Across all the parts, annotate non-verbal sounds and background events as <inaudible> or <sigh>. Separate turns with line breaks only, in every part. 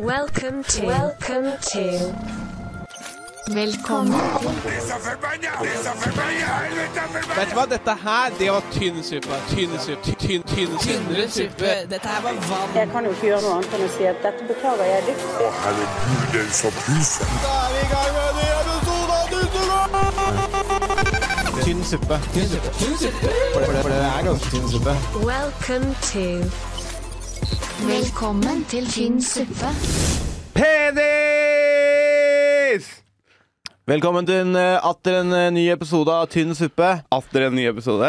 Welcome to Welcome to
Velkommen.
Vet du hva, dette her, det var tynn suppe. Tynn suppe. Tynn, tynn, tynnere suppe.
Dette her var vann.
Jeg kan jo ikke gjøre noe annet enn å si at dette beklager jeg dypt.
Å, herregud, den som puser.
Tynn suppe. Tynn suppe. For, det, for det er ganske tynn suppe.
Welcome to
Velkommen til Tynn suppe.
Penis!
Velkommen til en, eh, atter en eh, ny episode av Tynn suppe.
Atter en ny episode.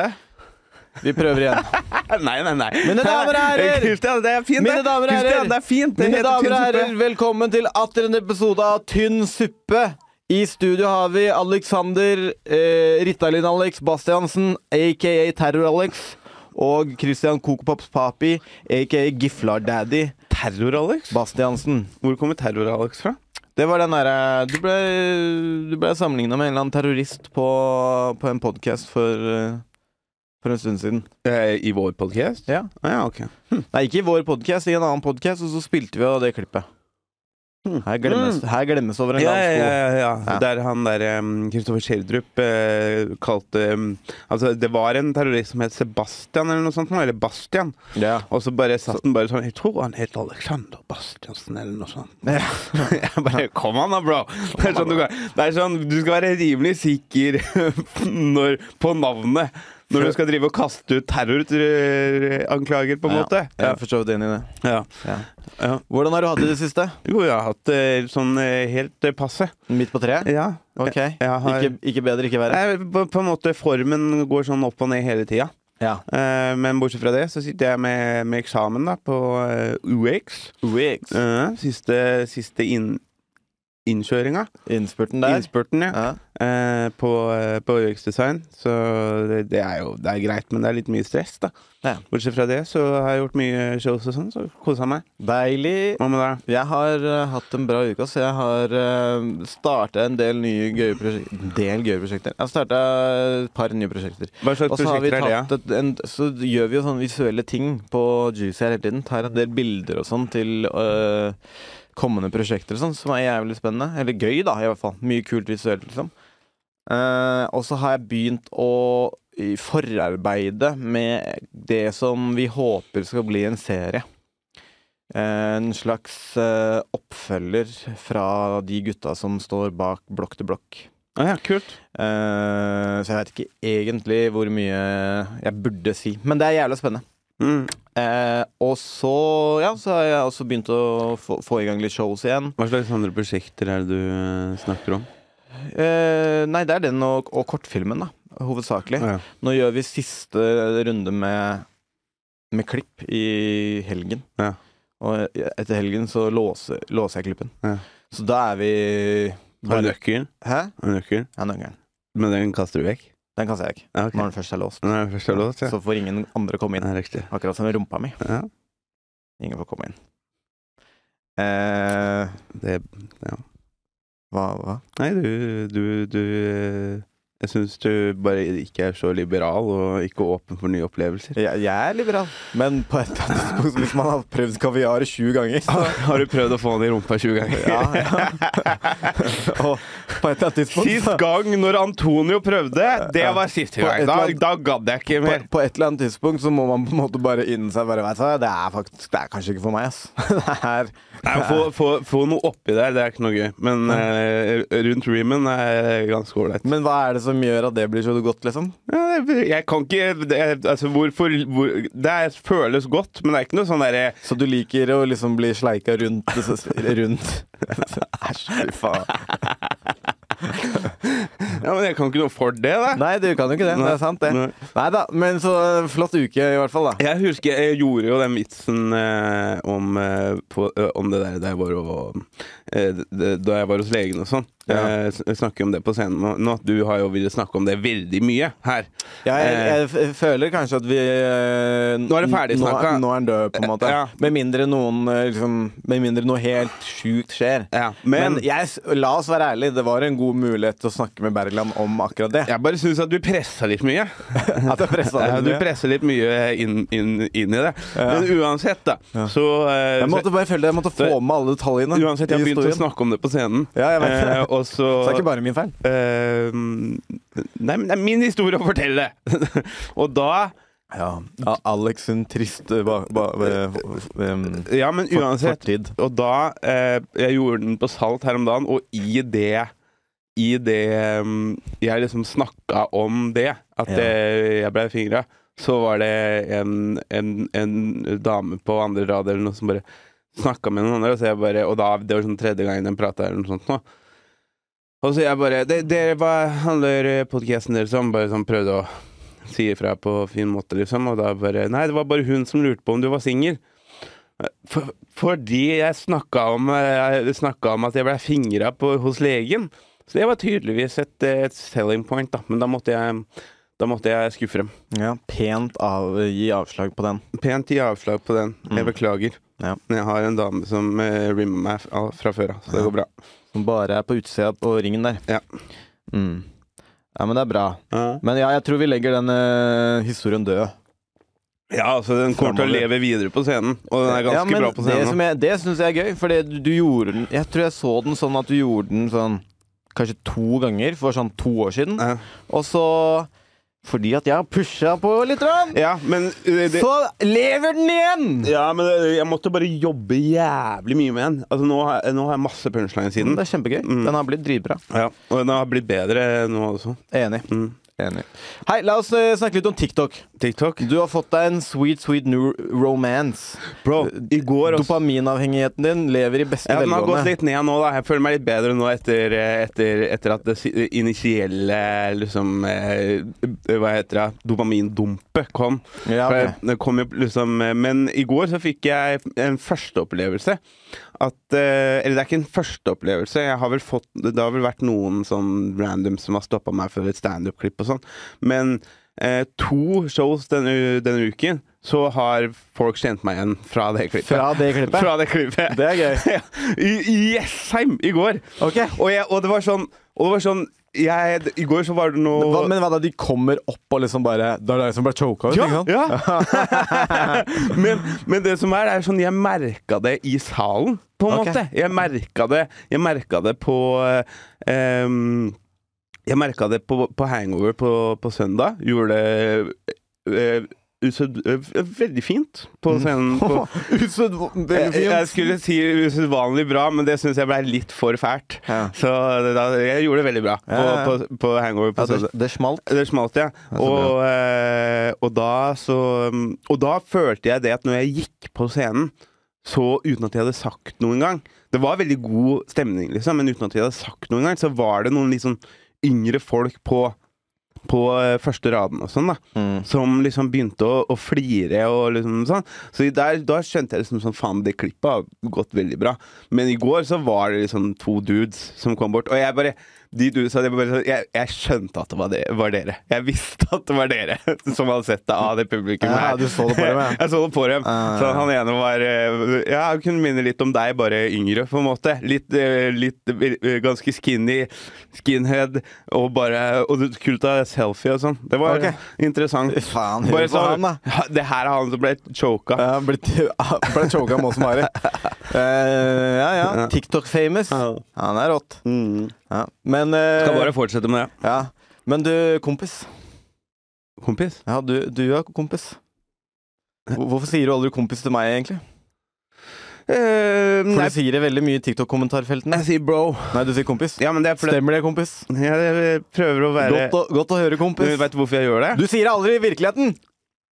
Vi prøver igjen.
<laughs> Nei, nei, nei.
Mine damer og herrer!
<laughs> Kristian, det er fint, det.
Mine damer og
Kristian,
herrer,
det er fint. Det
mine
heter
damer og
tynn
herrer,
suppe.
velkommen til atter en episode av Tynn suppe. I studio har vi Alexander, eh, Ritalin-Alex Bastiansen, aka Terror-Alex, og Christian Kokopops Papi, aka Giflar-Daddy
Terror, Alex?
Bastiansen.
Hvor kommer Terror, Alex fra?
Det var den derre Du ble, du ble sammenligna med en eller annen terrorist på, på en podkast for, eh, for en stund siden.
Eh, I vår podkast?
Ja.
Ah, ja, ok.
Nei, ikke i vår podkast, i en annen podkast, og så spilte vi av det klippet. Her glemmes, her glemmes over en
Hm. Mm. Ja,
lav
ja,
sko.
ja, ja.
Ja.
Der han der em, Kristoffer Schjelderup eh, kalte em, Altså, det var en terrorist som het Sebastian, eller noe sånt. nå, Eller Bastian.
Ja.
Og så bare satt han bare sånn Jeg tror han het Alexander Bastiansen eller noe sånt. Jeg <laughs> bare Kom an, da, bro! Det er, sånn du, kan, det er sånn Du skal være rimelig sikker <laughs> når, på navnet når du skal drive og kaste ut terroranklager, på en måte.
Jeg er for så vidt enig i det.
Ja.
Ja.
Ja.
Hvordan har du hatt det i det siste?
Jo, jeg har hatt eh, sånn eh, helt eh, passe.
Midt på treet?
Ja.
Ok.
Jeg har,
Ikke, ikke bedre, ikke verre.
Nei, på, på en måte Formen går sånn opp og ned hele tida.
Ja.
Eh, men bortsett fra det så sitter jeg med, med eksamen da på eh, UX.
Weeks.
Eh, siste siste inn, innkjøringa.
Innspurten der.
Innspurten, ja.
Ja.
Eh, på, eh, på UX Design. Så det, det er jo det er greit, men det er litt mye stress, da.
Ja.
Bortsett fra det så har jeg gjort mye shows og sånn, så kosa meg.
Deilig.
Hva med deg?
Jeg har eh, hatt en bra uke. ass. jeg har uh, starta en del nye gøye prosjekter. Del gøye prosjekter. Jeg har starta et par nye prosjekter.
Hva slags
Og så har vi
prosjekter er det? Ja?
tatt et, en, så gjør vi jo sånne visuelle ting på Juicy her hele tiden. Tar en del bilder og sånn til øh, kommende prosjekter og sånn, som er jævlig spennende. Eller gøy, da, i hvert fall. Mye kult visuelt, liksom. Eh, og så har jeg begynt å i- forarbeide med det som vi håper skal bli en serie. En slags eh, oppfølger fra de gutta som står bak Blokk til blokk.
Ah, ja, kult.
Eh, så jeg vet ikke egentlig hvor mye jeg burde si. Men det er jævla spennende.
Mm.
Eh, og så ja, så har jeg også begynt å få, få i gang litt shows igjen.
Hva slags andre prosjekter er det du eh, snakker om?
Eh, nei, det er den og, og kortfilmen, da. Hovedsakelig.
Ah, ja.
Nå gjør vi siste runde med, med klipp i helgen.
Ja.
Og etter helgen så låser, låser jeg klippen.
Ja.
Så da er vi
Har du
bare
nøkkelen?
Hæ?
Har du nøkkelen?
Ja, nøkkelen.
Men den kaster du vekk?
Den kaster jeg ikke.
Ja, ok.
Når den først er låst.
Den er først av låt, ja.
Så får ingen andre komme inn.
Ja, riktig.
Akkurat som rumpa mi.
Ja,
Ingen får komme inn. Eh,
det
hva, hva?
Nei, du, du, du eh, Jeg syns du bare ikke er så liberal og ikke åpen for nye opplevelser.
Jeg, jeg er liberal. Men på et eller annet tidspunkt, hvis man har prøvd kaviar 20 ganger så,
<laughs> Har du prøvd å få han i rumpa 20 ganger?
ja, ja. <laughs> Og på et eller annet tidspunkt
<laughs> Sist
så-
gang når Antonio prøvde, det
Ja.
var siste
På
gang.
et
Da,
eller annet-
da gadd jeg ikke
på,
mer.
på et eller annet tidspunkt så må man på en måte bare innse bare, vet du, hva, det er faktisk Det er kanskje ikke for meg, ass. <laughs> Det er,
Nei, få, få, få noe oppi der, det er ikke noe gøy. Men eh, rundt reamen er ganske ålreit.
men hva er det som gjør at det blir så godt, liksom?
Ja, det- Jeg kan ikke det, Altså, hvorfor hvor, Det er, føles godt, men det er ikke noe sånn derre
Så du liker å liksom bli sleika rundt <laughs> Rundt Æsj, fy faen.
Ja, men jeg kan ikke noe for det, da.
Nei, du kan jo ikke det. Det er sant, det.
Nei.
Nei da, men så eh, flott uke, i hvert fall, da.
Jeg husker jeg gjorde jo den vitsen eh, om, eh, på, ø, om det der da jeg var, og, eh, d- d- da jeg var hos legen og sånn. Eh, s- snakker om det på scenen nå- nå. at Du har jo villet snakke om det veldig mye her.
Jeg,
Eh,
jeg f- føler kanskje at vi eh,
Nå er det ferdig
nå,
snakka.
nå er han død, på en måte.
Ja.
Med mindre noen eh, liksom, Med mindre noe helt sjukt skjer.
Ja,
Men,
men-
jeg, s- la oss være ærlig, det var en god mulighet til å snakke med Bergland om akkurat det.
jeg bare syns at du pressa litt mye.
<laughs> At jeg presset
Ja,
det
du
mye.
presser litt mye inn, inn, inn i det. Men uansett, da. Så, eh,
Jeg måtte
så
bare føle jeg måtte få med alle detaljene.
Uansett, jeg
i
har begynt å
historien.
snakke om det på scenen.
Ja, jeg vet det.
Eh, og
<laughs> Så
så,
det er ikke bare min feil.
Eh, nei, men det er min historie å fortelle! <laughs> og da
Ja, Alex sin trist eh, ba, ba, eh, f- em,
Ja, men
For-
uansett.
fortid.
Og da eh, Jeg gjorde den på Salt her om dagen, og i det I det mm, jeg liksom snakka om det, at
Ja.
eh, jeg blei fingra, så var det en, en, en dame på andre rad eller noe som bare snakka med noen andre, og så jeg bare Og da, det var sånn tredje gangen jeg prata eller noe sånt nå. Og så jeg bare «Det- Dere, hva handler podkasten deres om? Bare sånn prøvde å si ifra på fin måte, liksom. Og da bare Nei, det var bare hun som lurte på om du var singel. For, fordi jeg snakka om, eh, jeg snakket om at jeg ble fingra hos legen. Så det var tydeligvis et, eh, et selling point, da. Men da måtte jeg, da måtte jeg skuffe dem.
Ja, pent av, gi avslag på den.
Pent gi avslag på den. Jeg beklager.
Mm. Ja.
Men jeg har en dame som eh, rimmer meg fra, fra før av, så det går bra.
Som bare er på utsida på ringen der.
Ja.
Mm. Ja, men det er bra. Men ja, jeg tror vi legger den eh, historien død.
Ja, altså den kommer til å
Fremover.
leve videre på scenen, og den er ganske
ja, men
bra på
Det, som
scenen. nå.
jeg- det syns jeg er gøy, for du gjorde den Jeg tror jeg så den sånn at du gjorde den sånn kanskje to ganger for sånn to år siden.
Ja.
Og så Fordi at jeg har pusha på litt, grann,
Ja, men eh, det,
så lever den igjen!
ja, men eh, jeg måtte bare jobbe jævlig mye med den. Altså, nå har, jeg- nå har jeg masse punchlines i den.
Det er kjempegøy.
Mm.
Den har blitt dritbra.
Ja, og den har blitt bedre nå også.
Enig.
Mm.
Enig. Hei, la oss eh, snakke litt om TikTok.
TikTok.
Du har fått deg en sweet, sweet new romance.
Bro, i går også
Dopaminavhengigheten din lever i beste
ja, den har gått
velgående.
litt ned nå, da. Jeg føler meg litt bedre nå etter, eh, etter, etter at det si- initielle liksom eh, Hva heter det? Dopamindumpet kom.
Ja,
For
ok.
jeg- det kom jo liksom eh, Men i går så fikk jeg en førsteopplevelse. At eh, Eller det er ikke en førsteopplevelse. Jeg har vel fått Det har vel vært noen sånn random som har stoppa meg for et standup-klipp og sånn. Men eh, to shows denne, denne uken, så har folk kjent meg igjen fra det klippet.
Fra det
<laughs>
klippet?
Fra det klippet.
Det er gøy.
<laughs> Ja, I i Jessheim i går.
Ok.
Og, jeg, og det var sånn, og det var sånn jeg, I går så var det noe
Hva, men hva da, de kommer opp og liksom bare Det er deg som ble choka ut,
ja,
ikke sant? <laughs>
ja. <laughs> men, men det som er, det er sånn Jeg merka det i salen, på en
Ok.
måte. Jeg merka det, jeg merket det på eh, em, Jeg merka det på, på hangover på, på søndag. Gjorde det eh, used, eh, veldig fint
Mm.
på scenen. På,
<laughs> Usedvanlig
jeg, Eh, jeg skulle si usedvanlig bra, men det syns jeg ble litt for fælt.
Ja.
Så det- da, jeg gjorde det veldig bra på,
Ja, ja.
på, på hangover på
Ja, det,
søndag.
det smalt.
Det smalt, ja.
så
Og, eh, og da så Og da følte jeg det at når jeg gikk på scenen, så uten at jeg hadde sagt noe engang Det var veldig god stemning, liksom, men uten at jeg hadde sagt noe engang, så var det noen litt sånn yngre folk på på eh, første raden og sånn, da.
Mm.
Som liksom begynte å, å flire og liksom sånn. Så der, da skjønte jeg liksom sånn Faen, det klippet har gått veldig bra. Men i går så var det liksom to dudes som kom bort, og jeg bare de dudes hadde jeg bare sånn jeg, jeg skjønte at det var, det var dere. Jeg visste at det var dere <laughs> som hadde sett det av det publikummet
Ja, du så det på dem, ja.
<laughs> jeg så det på dem.
Ah.
Så han ene var eh, Ja, han kunne minne litt om deg, bare yngre, på en måte. Litt, eh, litt eh, ganske skinny, skinhead, og bare Og du skulle ta selfie og sånn. Det var
Ok.
interessant.
Faen, hør
Bare
på
sånn,
han, da.
«Ha, Det her er han som ble
<laughs>
choka.
Ja, ble, ble choka med oss som har det. Eh, ja, ja. TikTok-famous.
Ja.
Han er rått.
Mm.
Ja. Men eh,
Skal bare fortsette med det.
ja. Men du, kompis.
Kompis?
Ja, du, du er kompis. Hvor- Hvorfor sier du aldri kompis til meg, egentlig? For
Mm, nei,
du sier det veldig mye i TikTok-kommentarfeltene.
jeg sier bro.
Nei, du sier kompis.
Ja, men det er fordi
Stemmer det, kompis?
jeg prøver å være
Godt å, godt å høre, kompis.
Veit du hvorfor jeg gjør det?
Du sier det aldri i virkeligheten!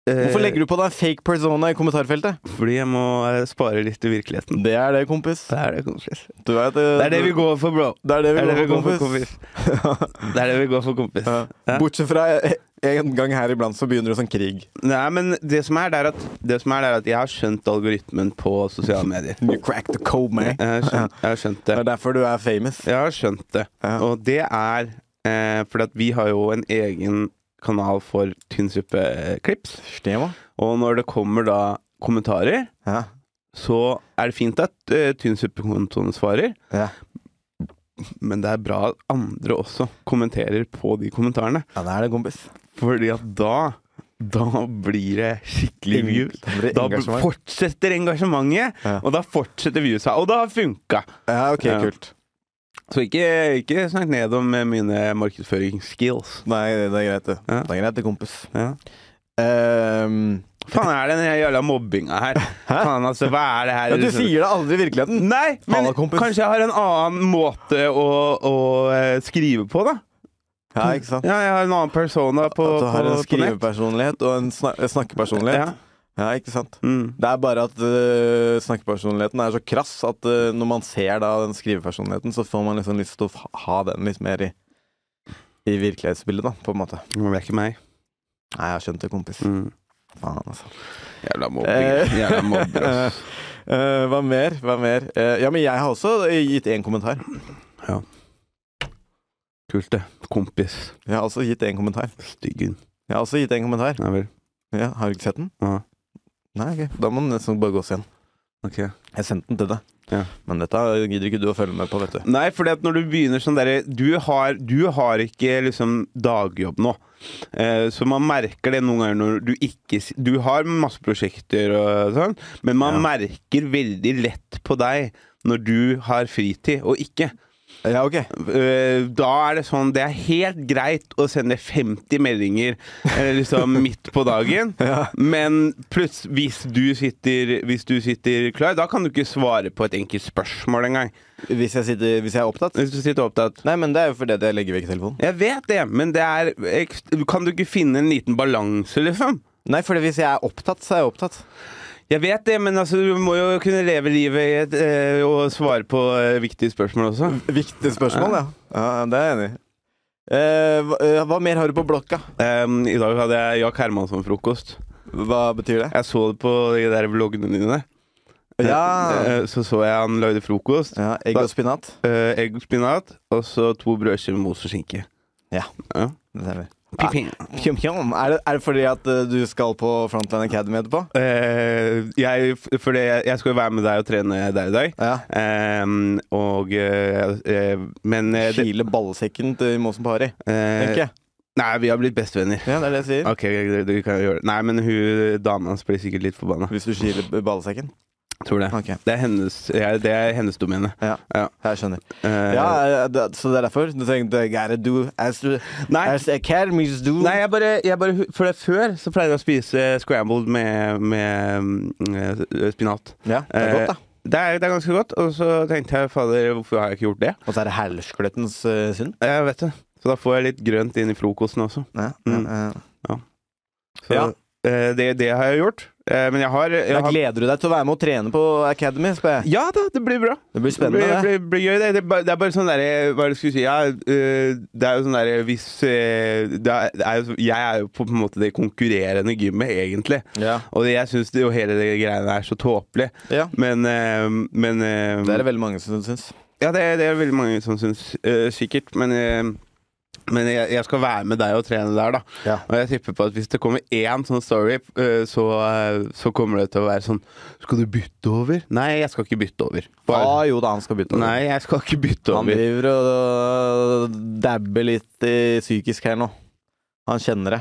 Eh.
Hvorfor legger du på deg fake persona i kommentarfeltet?
Fordi jeg må eh, spare litt til virkeligheten.
Det er det, kompis.
Det er det, kompis.
Du vet,
Det er det vi går for, bro.
Det er det vi går for, kompis.
Det er det vi går for, kompis. Ja.
Bortsett fra eh, en gang her iblant så begynner det sånn krig.
Nei, men det som er, det er at, det som er, det er at jeg har skjønt algoritmen på sosiale medier.
You crack the code, man.
Jeg har skjønt, jeg har skjønt det.
Det er derfor du er famous.
Jeg har skjønt det.
Ja.
Og det er eh, fordi at vi har jo en egen kanal for tynnsuppe-klips.
Stema.
Og når det kommer da kommentarer,
Ja.
så er det fint at eh, tynnsuppekontoen svarer.
Ja.
Men det er bra at andre også kommenterer på de kommentarene.
ja, det er det, kompis.
Fordi at da da blir det skikkelig
Eng-
views.
da blir det
Da
engasjement.
fortsetter engasjementet,
Ja.
og da fortsetter viewsa. Og det har funka!
Ja, ok,
Ja.
kult.
Så ikke, ikke snakk ned om eh, mine markedsføringsskills.
Nei, det det er greit, det.
Ja.
Det er greit, det, kompis.
Ja.
Ehm,
faen er det den jævla mobbinga
<laughs>
her? Faen, altså, hva er det her?
ja, du sier det aldri i virkeligheten.
Nei, men
Halla, kompis.
kanskje jeg har en annen måte å, å eh, skrive på, da.
Ja, ikke sant?
Ja, jeg har en annen persona på,
At du har en
på, på nett.
skrivepersonlighet og en snak snakkepersonlighet.
Ja.
Ja, ikke sant?
Mm.
Det er bare at øh, snakkepersonligheten er så krass at øh, når man ser da den skrivepersonligheten, så får man liksom lyst til å f- ha den litt mer i, i virkelighetsbildet, da, på en måte.
Det er ikke meg.
Nei, jeg har skjønt det, kompis.
Mm.
Faen, altså.
Jævla
Eh.
mobbing. Jævla mobber, ass.
Eh, hva mer? Hva mer? Eh, ja, men jeg har også gitt én kommentar.
<laughs> Kult, det. Kompis.
Jeg har også gitt én kommentar.
Styggen.
Jeg har også gitt en kommentar.
Ja vel.
Ja, har du ikke sett den?
Ja.
Nei, ok. Da må den nesten bare gås igjen.
Ok.
Jeg sendte den til deg.
Ja.
Men dette gidder ikke du å følge med på, vet du.
Nei, fordi at når du begynner sånn derre du, har- du har ikke liksom dagjobb nå. Eh, så man merker det noen ganger når du ikke s- Du har masse prosjekter og sånn, men man
Ja.
merker veldig lett på deg når du har fritid og ikke.
Ja, ok.
Eh, da er det sånn Det er helt greit å sende 50 meldinger eh,
<laughs>
liksom midt på dagen,
Ja.
men plutselig hvis, du sitter- hvis du sitter klar, da kan du ikke svare på et enkelt spørsmål engang.
Hvis jeg, sitter, hvis jeg er opptatt?
Hvis du sitter opptatt.
Nei, men det er jo fordi at jeg legger vekk telefonen.
Jeg vet det, men det er ekst- Kan du ikke finne en liten balanse, liksom?
Nei, for hvis jeg er opptatt, så er jeg opptatt.
Jeg vet det, men altså, du må jo kunne leve livet i et, eh, og svare på eh, viktige spørsmål også.
Viktig spørsmål, ja. ja det er jeg enig i. Eh, hva, eh, hva mer har du på blokka?
Em, I dag hadde jeg Jack Hermansson-frokost.
Hva betyr det?
Jeg så det på de der vloggene dine.
Ja,
Eh, Så så jeg han lagde frokost.
ja Egg og spinat.
eh, Egg og spinat, og så to brødskiver med ost og skinke.
Ja.
Ja.
Det stemmer.
Piping.
Pjom, pjom. Er, det, er det fordi at eh, du skal på Frontline Academy etterpå?
Eh, jeg, for det, jeg skal jo være med deg og trene der i dag.
Ja.
Em, Ehm, og eh, eh, Men eh, det-
Kile ballsekken til Måsen Pari, tenker
Eh,
jeg.
nei, vi har blitt bestevenner.
Ja, det er det jeg sier.
Ok, du, du kan gjøre det. Nei, men hun dama hans blir sikkert litt forbanna.
Hvis du kiler b- ballsekken.
Tror det.
Ok,
Det er hennes, jeg- det er hennes domene.
jeg skjønner.
Eh,
Ja, eh, det, Så det er derfor du tenkte gotta do as, do,
nei,
as academies do?
nei, jeg bare, jeg bare For det før så pleide jeg å spise scrambled med, med mm, eh, spinat. Eh,
Ja, det er godt, da.
Det er, det er ganske godt. Og så tenkte jeg fader, hvorfor har jeg ikke gjort det?
Og så er det herlskløttens eh, synd.
Jeg vet det. Så da får jeg litt grønt inn i frokosten også.
Ja,
Mm.
ja, ja.
Så,
Ja.
eh, det, det har jeg gjort. Eh, men jeg har, jeg
Da
har
gleder du deg til å være med og trene på Academy, spør jeg.
Ja da, det blir bra.
Det blir spennende, det.
blir, blir gøy, det. Det er bare, det er bare sånn derre Hva er det jeg skulle si? Ja, øh, det er jo sånn derre hvis øh, det er, det er, jo- Jeg er jo på en måte det konkurrerende gymmet, egentlig.
Ja.
Og det, jeg syns jo hele det greiene er så tåpelig.
ja.
Men, øh, men øh,
Det er det veldig mange som syns.
Ja, det, det er veldig mange som syns. øh, sikkert. Men, øh, men jeg, jeg skal være med deg og trene der, da.
Ja.
Og jeg tipper på at hvis det kommer én sånn story, øh, så, øh, så kommer det til å være sånn Skal du bytte over? Nei, jeg skal ikke bytte over.
Å
Bare-
jo da, han skal bytte. over.
Nei, jeg skal ikke bytte
han
over.
driver og og dabber litt i psykisk her nå. Han kjenner det.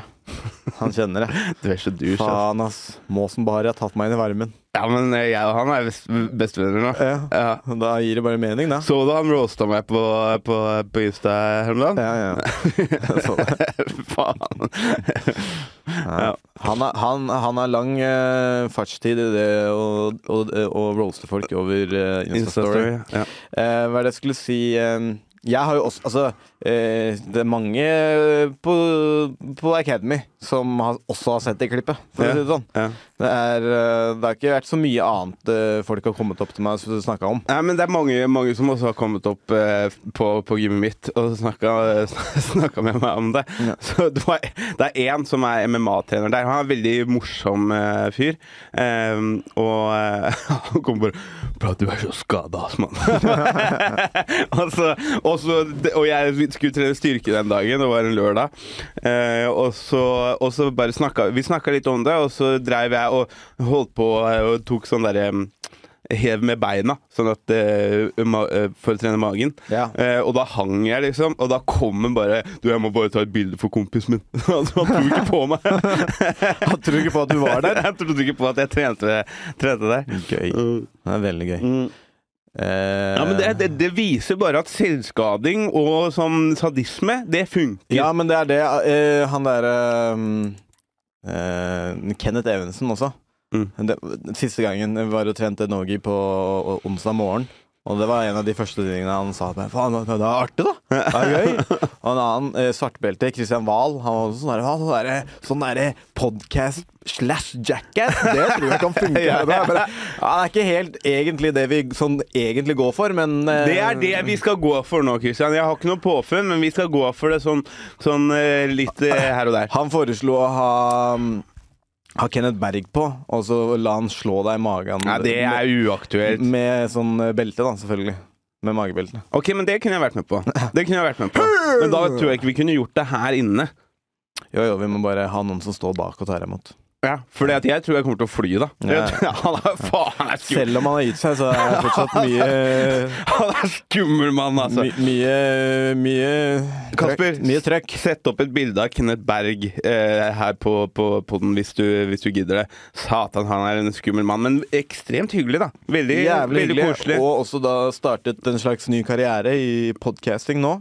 Han kjenner det.
<laughs> Du er så douche. ass.
Faen, ass. Måsen Bahari har tatt meg inn i varmen.
Ja, men eh, jeg og han er best- bestevenner nå.
Ja.
Ja.
Da gir det bare mening, da.
Så du han roasta meg på, på, på Insta her om dagen?
Ja,
<laughs>
ja. Jeg så det.
Faen.
Ja. Han, har, han, han har lang eh, fartstid i det å- å å roaste folk over eh, Insta-story.
Insta-story. Ja.
Eh, hva er det jeg skulle si? Eh, Jeg har jo også Altså, eh, det er mange på, på Academy som har, også har sett det klippet, for
Ja,
å si det sånn.
ja.
Det, er, eh, det har ikke vært så mye annet eh, folk har kommet opp til meg og snakka om.
Nei, men det er mange, mange som også har kommet opp eh, på, på gymmet mitt og snakka, <laughs> snakka med meg om det. Så det, var, det er én som er MMA-trener der. Han er en veldig morsom eh, fyr. Eh, og eh, <laughs> han kommer bare 'Bra, du er så skada, ass, mann'. <laughs> og, så, og, så, og jeg skulle trene styrke den dagen, det var en lørdag. Eh, og, så, og så bare snakka Vi snakka litt om det, og så dreiv jeg og holdt på eh, og tok sånn derre hev med beina sånn at, eh, ma eh, for å trene magen.
Ja.
Eh, og da hang jeg, liksom. Og da kom han bare 'Du, jeg må bare ta et bilde for kompisen min'. <laughs> altså, han tror
<laughs>
ikke på meg.
Jeg tror ikke på at du var der.
<laughs> jeg trodde ikke på at jeg trente, trente der.
Gøy.
Mm.
Det er veldig gøy.
Mm.
Eh,
Ja, men det, det, det viser bare at selvskading og sånn sadisme, det funker.
ja, men det er det eh, Han derre mm, eh, Kenneth Evensen også.
Mm.
Det, siste gangen var og trente Nogi på onsdag morgen. Og det var en av de første tingene han sa til meg. Faen, det er artig, da! Det er gøy!
<laughs>
Og en annen eh, svartbelte, Christian Wahl, han var også sånn der, «Ja, sånn derre sånn der podcast slash jackass. Det tror jeg kan funke.
<laughs> Ja, ja.
Og det er bare, ja, det er ikke helt egentlig det vi sånn egentlig går for, men eh,
Det er det vi skal gå for nå, Christian. Jeg har ikke noe påfunn, men vi skal gå for det sånn, sånn eh, litt eh, her og der.
Han foreslo å ha ha Kenneth Berg på, og så la han slå deg i magen.
Nei, det er uaktuelt.
Med sånn eh, belte, da, selvfølgelig. Med magebelte.
Ok, men det kunne jeg vært med på. Det kunne jeg vært med på. Men da tror jeg ikke vi kunne gjort det her inne.
Jo, jo, vi må bare ha noen som står bak og tar imot.
Ja, Fordi at jeg tror jeg kommer til å fly, da. <laughs>
Ja.
Jeg- Han er faen han er skummel.
Selv om han har gitt seg, så er det fortsatt mye
<laughs> Han er skummel mann, <laughs> altså.
my, Mye Mye
Kasper.
trøkk. Mye trøkk.
Sett opp et bilde av Kenneth Berg eh, her på, på podden hvis du, hvis du gidder det. Satan, han er en skummel mann, men ekstremt hyggelig, da. Veldig,
Jævlig
veldig
hyggelig.
koselig.
Og også da startet en slags ny karriere i podcasting nå.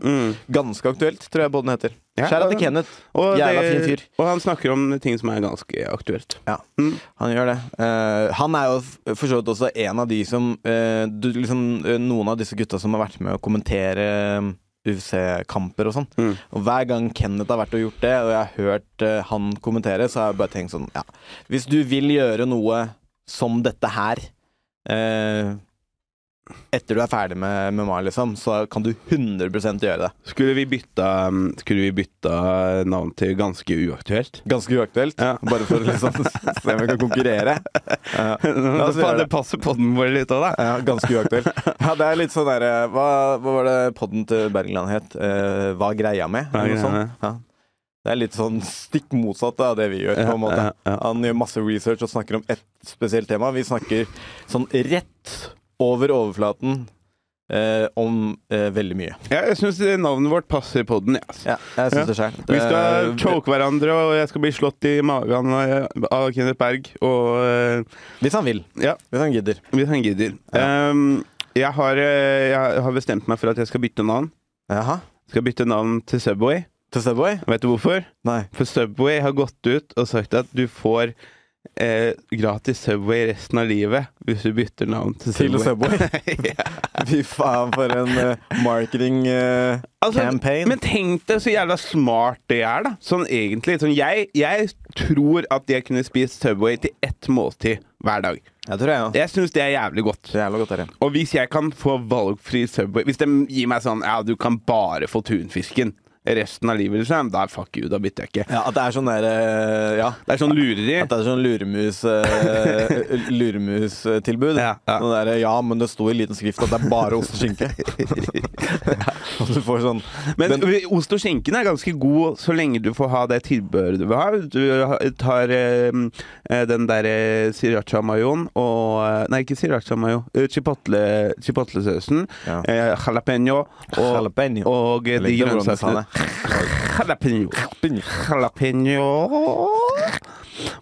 Ganske aktuelt, tror jeg podden heter.
Mm. Ja,
Skjæra
det-
til Kenneth.
Og
Jævla
det-
fin fyr.
Og han snakker om ting som er ganske aktuelt. Mm.
Ja, han gjør det. Eh, han er jo f- for så vidt også en av de som eh, du, liksom, eh, Noen av disse gutta som har vært med å kommentere eh, UFC-kamper og sånn.
Mm.
Og hver gang Kenneth har vært og gjort det, og jeg har hørt eh, han kommentere, så har jeg bare tenkt sånn Ja, hvis du vil gjøre noe som dette her eh, etter du er ferdig med MMA, liksom, så kan du 100 gjøre det.
Skulle vi bytta, mm, skulle vi bytta navn til ganske uaktuelt?
Ganske uaktuelt.
Ja.
Bare for å liksom
<laughs>
se om vi kan konkurrere. Ja. La oss gjøre
det, pa-
det.
det passer podden vår litt òg, da.
Ja, ganske
<laughs>
uaktuell. Ja, det er litt sånn derre hva, hva var det podden til Bergland het? Eh, hva greia med?
Hva
Eller
greia
noe
med?
sånt. Ja. Det er litt sånn stikk motsatt av det vi gjør.
Ja,
på en måte
ja, ja.
Han gjør masse research og snakker om ett spesielt tema. Vi snakker sånn rett over overflaten eh, om eh, veldig mye.
Ja, jeg syns navnet vårt passer podden. Ja.
Ja, jeg syns
altså. Ja.
det Eh, sjøl.
Vi skal choke hverandre, og jeg skal bli slått i magen av av Kenneth Berg. Og eh,
Hvis han vil.
ja,
Hvis han gidder.
hvis han gidder. Ehm, jeg, har, eh, jeg har bestemt meg for at jeg skal bytte navn.
Jaha.
Skal bytte navn til Subway.
Til Subway?
Vet du hvorfor?
Nei.
For Subway har gått ut og sagt at du får eh, gratis Subway resten av livet hvis du bytter navn til
Til
Subway.
Subway? <laughs>
<laughs> ja.
Fy faen, for en eh, marketing eh,
Altså,
campaign.
Men tenk deg så jævla smart det er, da. Sånn egentlig. Sånn, jeg, jeg tror at jeg kunne spist Subway til ett måltid hver dag.
Jeg tror jeg òg.
Jeg syns det er jævlig godt.
Det er jævla godt, dere.
Og hvis jeg kan få valgfri Subway Hvis de gir meg sånn Ja, du kan bare få tunfisken resten av livet, liksom. Da fuck you, da bytter jeg ikke.
Ja, at det er sånn der eh, Ja.
Det er sånn lureri.
At det er sånn luremus
<laughs>
eh, luremustilbud.
Ja, ja.
Sånn der, ja, men det sto i liten skrift at det er bare ost og
<laughs>
skinke. <laughs> Og du får sånn
Men
den-
ost og skinken er ganske god så lenge du får ha det tilbehøret du vil ha. Du ha- tar eh, eh, den derre sriracha-mayoen og eh, Nei, ikke sriracha-mayo. eh, chipotle- Chipotle-sausen.
Ja.
eh, jalapeño. Og,
Jalapeño.
og eh,
Jeg
de
likte hvordan du sa
grønnsakene. Jalapeño. Jalapeño.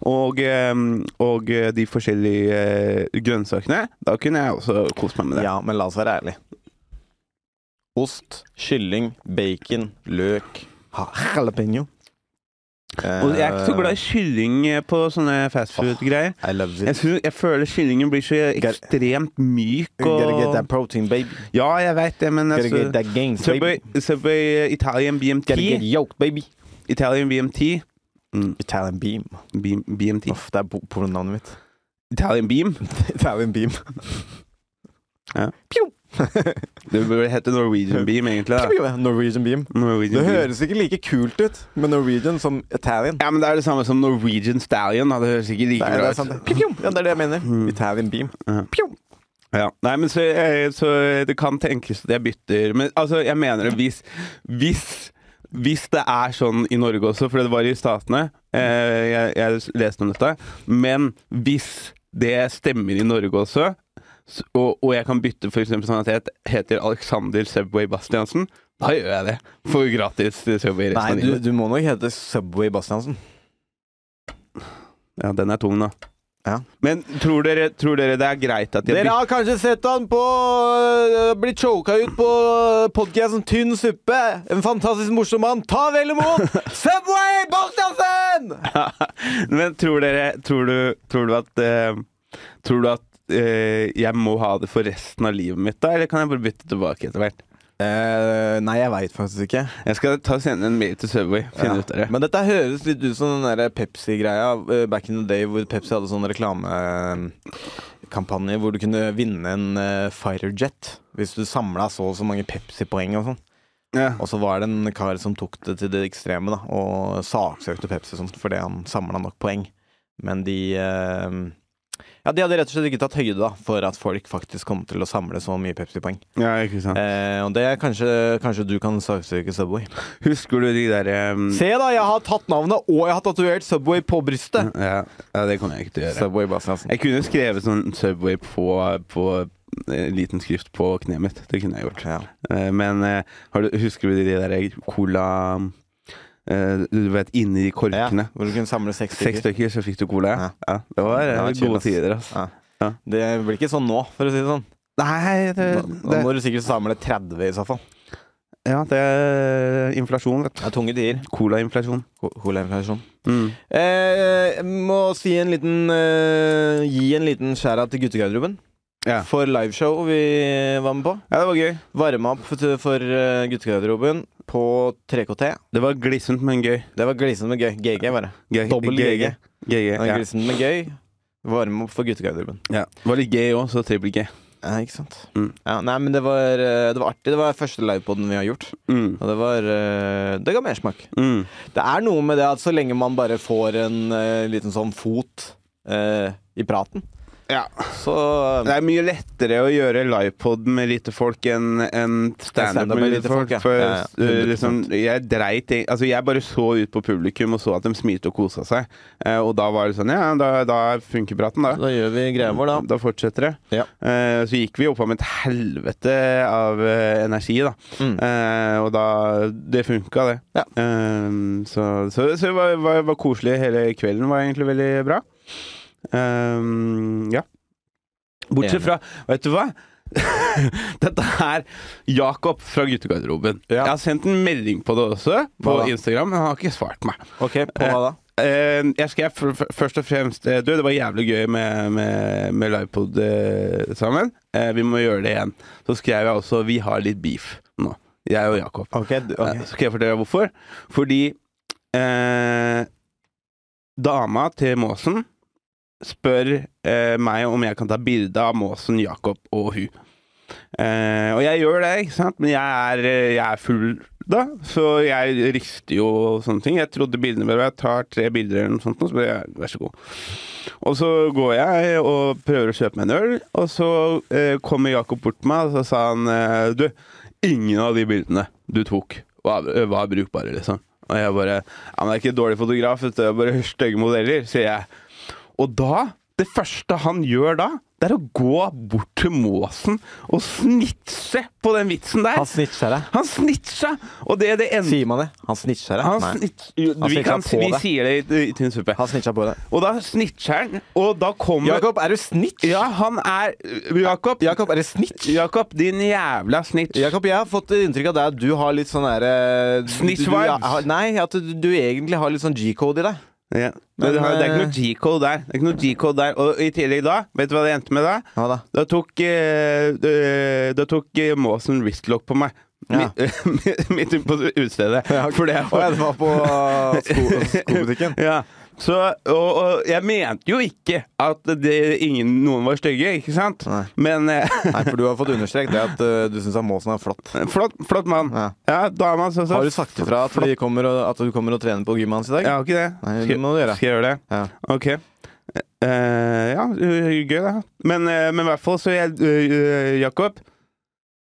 Og, eh, og eh, de forskjellige eh, grønnsakene. Da kunne jeg også kost meg med det.
Ja, men la oss være ærlige. Ost, kylling, bacon, løk, ha- jalapeño.
Og jeg er ikke så glad i kylling eh, på sånne fastfood-greier.
I love
Jeg,
it.
synes- jeg føler kyllingen blir så ekstremt myk
Gotta get
og
that protein, baby.
Ja, jeg veit det, men
Gotta get
altså
that gains,
Subway,
baby.
Subway eh, Italian
Gotta get
BMT.
yoked, baby.
Italian BMT. Mm,
Italian beam.
B- BMT.
Uff, det er po- pornonavnet mitt.
Italian Beam.
Italian beam.
<laughs> Det burde hete Norwegian Beam, egentlig. da
Norwegian beam.
Norwegian
Det
Beam.
høres ikke like kult ut med Norwegian som Italian.
Ja, men Det er det samme som Norwegian Stallion. Da. Det høres ikke
Det
like
er, det
bra
er sant, det.
ut.
Pjum, pjum. Ja, det er det jeg mener.
Mm.
Italian beam.
Ja. Nei, men så, eh, så det kan tenkes at jeg bytter Men altså, jeg mener det hvis Hvis, hvis det er sånn i Norge også, for det var i Statene eh, jeg, jeg leste om dette. Men hvis det stemmer i Norge også, s- og, og jeg kan bytte for eksempel sånn at jeg het- heter Alexander Subway Bastiansen, da gjør jeg det. For gratis eh, Subway resten
Nei,
av
du,
livet.
du må nok hete Subway Bastiansen.
Ja, den er tung, da.
Ja.
Men tror dere, tror dere det er greit at jeg bytter
Dere har kanskje sett han på øh, Bli choka ut på podkasten Tynn suppe. En fantastisk morsom mann. Ta vel <laughs> imot Subway Bastiansen!
Men tror dere Tror du, tror du at eh, Tror du at eh, jeg må ha det for resten av livet mitt, da? Eller kan jeg bare bytte tilbake etter hvert?
Eh, nei, jeg veit faktisk ikke.
Jeg skal ta og sende en mail til Subway. Finne ut av det.
Men dette høres litt ut som den der Pepsi-greia eh, back in the day hvor Pepsi hadde sånn reklamekampanje hvor du kunne vinne en eh, fighter jet hvis du samla så og så mange Pepsi-poeng og sånn.
Ja.
Og så var det en kar som tok det til det ekstreme da, og saksøkte Pepsi og sånt fordi han samla nok poeng. Men de eh, Ja, de hadde rett og slett ikke tatt høyde da, for at folk faktisk kom til å samle så mye Pepsi-poeng.
ja, ikke sant.
Eh, og det er kanskje, kanskje du kan saksøke Subway.
Husker du de eh, derre
Se da, jeg har tatt navnet, og jeg har tatovert Subway på brystet.
ja, ja, det kommer jeg ikke til å gjøre.
Mm. Subway Bastiansen.
Jeg kunne skrevet sånn Subway på, på eh, liten skrift på kneet mitt. Det kunne jeg gjort.
Ja.
Eh, Men eh, har du, husker du de der cola eh, Du vet, inni de
Ja,
korkene?
hvor du kunne samle seks
Seks
stykker.
stykker, så fikk du cola. Ja.
Ja.
Ja, det var, eh,
Det var chill,
gode
ass.
tider, ass.
Ja. Eh,
Ja.
Det blir ikke sånn nå, for å si det sånn.
Nei, det,
Da,
det,
da må du sikkert samle 30 i så fall.
ja, det er inflasjon, vet
Det
du.
er tunge tider.
Colainflasjon.
Ko- Koleinflasjon.
Mm.
Eh, må si en liten eh, Gi en liten skjæra til guttegarderoben.
Ja.
For liveshow vi var med på.
ja, det var gøy.
Varma opp for, for eh, guttegarderoben på 3KT.
Det var glissent, men gøy.
Det var glissende med gøy. GG, bare.
Gøy-
Dobbel GG.
GG,
Det var
ja.
Glissende med gøy. Varme opp for guttegarderoben.
ja. Det var litt gøy òg, så trippel G.
Ja, ikke sant?
Mm.
Ja, nei, men det var, eh, det var artig. Det var første livepoden vi har gjort.
Mm.
Og det var eh, Det ga mersmak.
Mm.
Det er noe med det at så lenge man bare får en eh, liten sånn fot eh, i praten,
Ja.
så um,
Det er mye lettere å gjøre livepod med lite folk enn enn standup med lite folk.
ja.
For
Ja, ja,
eh,
100%.
liksom, jeg dreit i Altså, jeg bare så ut på publikum og så at de smilte og kosa seg. Eh, og da var det sånn Ja, da, da funker praten, da.
Da gjør vi greia vår, da.
Da fortsetter det.
Ja.
Eh, så gikk vi opp om et helvete av eh, energi, da.
Mm.
Eh, og da Det funka, det.
Ja.
Eh, så så, så det var, var, var koselig. Hele kvelden var egentlig veldig bra. Eh, ja. Bortsett fra Vet du hva? <laughs> Dette er Jakob fra guttegarderoben.
Ja.
Jeg har sendt en melding på det også, på
Hva da?
Instagram, men han har ikke svart meg.
OK, på hva da?
Eh, jeg skrev f- f- først og fremst eh, Du, det var jævlig gøy med, med, med livepod eh, sammen. Eh, vi må gjøre det igjen. Så skrev jeg også Vi har litt beef nå. Jeg og Jakob.
OK. du- ok.
Eh, så skal jeg fortelle deg hvorfor. Fordi eh, dama til Måsen spør eh, meg om jeg kan ta bilde av Måsen, Jakob og hun. Eh, og jeg gjør det, ikke sant? men jeg er, eh, jeg er full da, så jeg rister jo og sånne ting. Jeg trodde bildene bare Jeg tar tre bilder eller noe sånt, og så bare ja, vær så god. Og så går jeg og prøver å kjøpe meg en øl, og så eh, kommer Jakob bort til meg, og så sa han eh, Du, ingen av de bildene du tok, var, var brukbare, liksom. Og jeg bare Ja, men jeg er ikke dårlig fotograf, vet du. Jeg er bare stygge modeller, sier jeg. Og da Det første han gjør da, det er å gå bort til måsen og snitse på den vitsen der.
Han snitcher deg.
Han snitsa! Og det det ender
Sier man det? Han snitcher deg?
Han
Nei.
snitch... Jo,
Han
vi,
snitcha
kan,
på
vi
deg.
sier det i, i Tynn suppe.
Han snitcha på deg.
Og da snitcher han, og da kommer
Jakob, er du snitch?
Ja, han er Jakob,
Jakob, er du snitch?
Jakob, din jævla snitch.
Jakob, jeg har fått inntrykk av deg at du har litt sånn derre
Snitch
du- du-
vibes.
ja, Nei, at du, du egentlig har litt sånn G-code i deg.
Ja.
Men,
det, er- det er ikke
eh,
noe G-code der. Det er ikke noe G-code der. Og i tillegg da, vet du hva det endte med da?
Hva da? <laughs>
Da tok, eh, eh, da tok eh, måsen wristlock på meg.
Ja.
Midt- <laughs> Midt ute på utestedet.
Ja, ok.
Fordi jeg-
Å, ja, det var på <laughs> uh, sko, skobutikken.
Ja. Så, og, og jeg mente jo ikke at det, ingen, noen var stygge, ikke sant?
Nei.
Men eh, <laughs>
Nei, for du har fått understreket det at uh, du syns måsen er flott.
flott, flott mann.
Ja.
Ja, dama så, så.
Har du sagt ifra at, vi kommer og, at du kommer og trener på gymmet hans i dag?
Jeg har ikke det.
Nei, det
Skal-
må du gjøre.
Skal jeg gjøre det?
Ja.
Ok. Eh, ja, gøy det. Men, eh, men i hvert fall så jeg, eh, Jakob.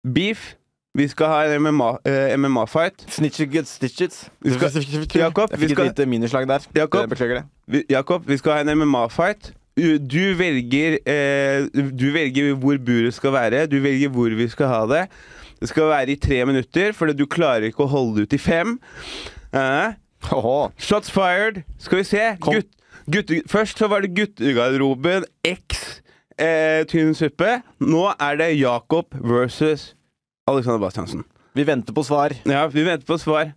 Beef. Vi skal ha en eh, MMA-fight.
Snitches get stitches.
Vi skal- Jakob,
jeg
vi
fikk
skal-
et lite minislag der.
Jakob.
Jeg eh, Beklager det.
Jakob, vi skal ha en MMA-fight. Du velger, eh, du velger hvor buret skal være, du velger hvor vi skal ha det. Det skal være i tre minutter, for du klarer ikke å holde ut i fem. Eh,
Åhå.
Shots fired. Skal vi se.
Kom.
Gutt, gutte- først så var det guttegarderoben X eh, tynn suppe. Nå er det Jakob versus Alexander Bastiansen.
Vi venter på svar.
Ja, vi venter på svar.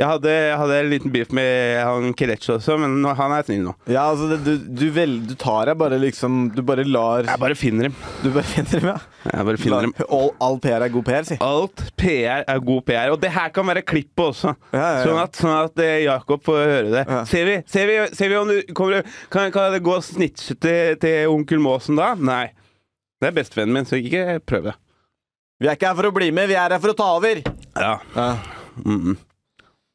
Jeg hadde, jeg hadde en liten beef med han Kelechi også, men nå, han er snill nå.
Ja, altså, det, du, du, vel, du tar deg bare liksom Du bare lar
Jeg bare finner dem.
Du bare <laughs> finner dem, ja.
Jeg bare finner dem.
La- All, all PR er god PR, si.
Alt PR er god PR, og det her kan være klippet også.
ja, ja.
Sånn at, sånn at eh, Jakob får høre det.
Ja.
Ser, vi, ser, vi, ser vi om du kommer Kan, kan det gå snitchete til, til onkel Måsen da? Nei. Det er bestevennen min, så ikke prøv det.
Vi er ikke her for å bli med, vi er her for å ta over.
Ja.
Ja,
Mm -mm.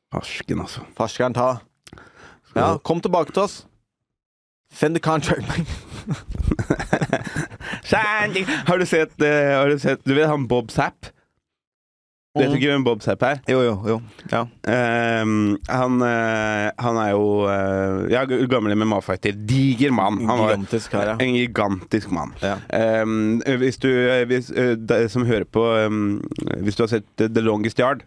Farsken, altså.
Ferskeren, ta. Ja, kom tilbake til oss. Send the contract back.
<laughs> Sandy! Har du sett, eh, har du sett Du vet han Bob Zapp? Vet
Mm.
du ikke hvem Bob Zapp er?
<laughs> Jo, jo, jo. Ja.
Ehm, han, eh, han er jo eh, Ja, g- gammel MMA-fighter. Diger mann. Han var
Gigantisk kar, ja.
en gigantisk mann.
ja.
Ehm, hvis du hvis, eh, de som hører på ehm, Hvis du har sett eh, The Longest Yard,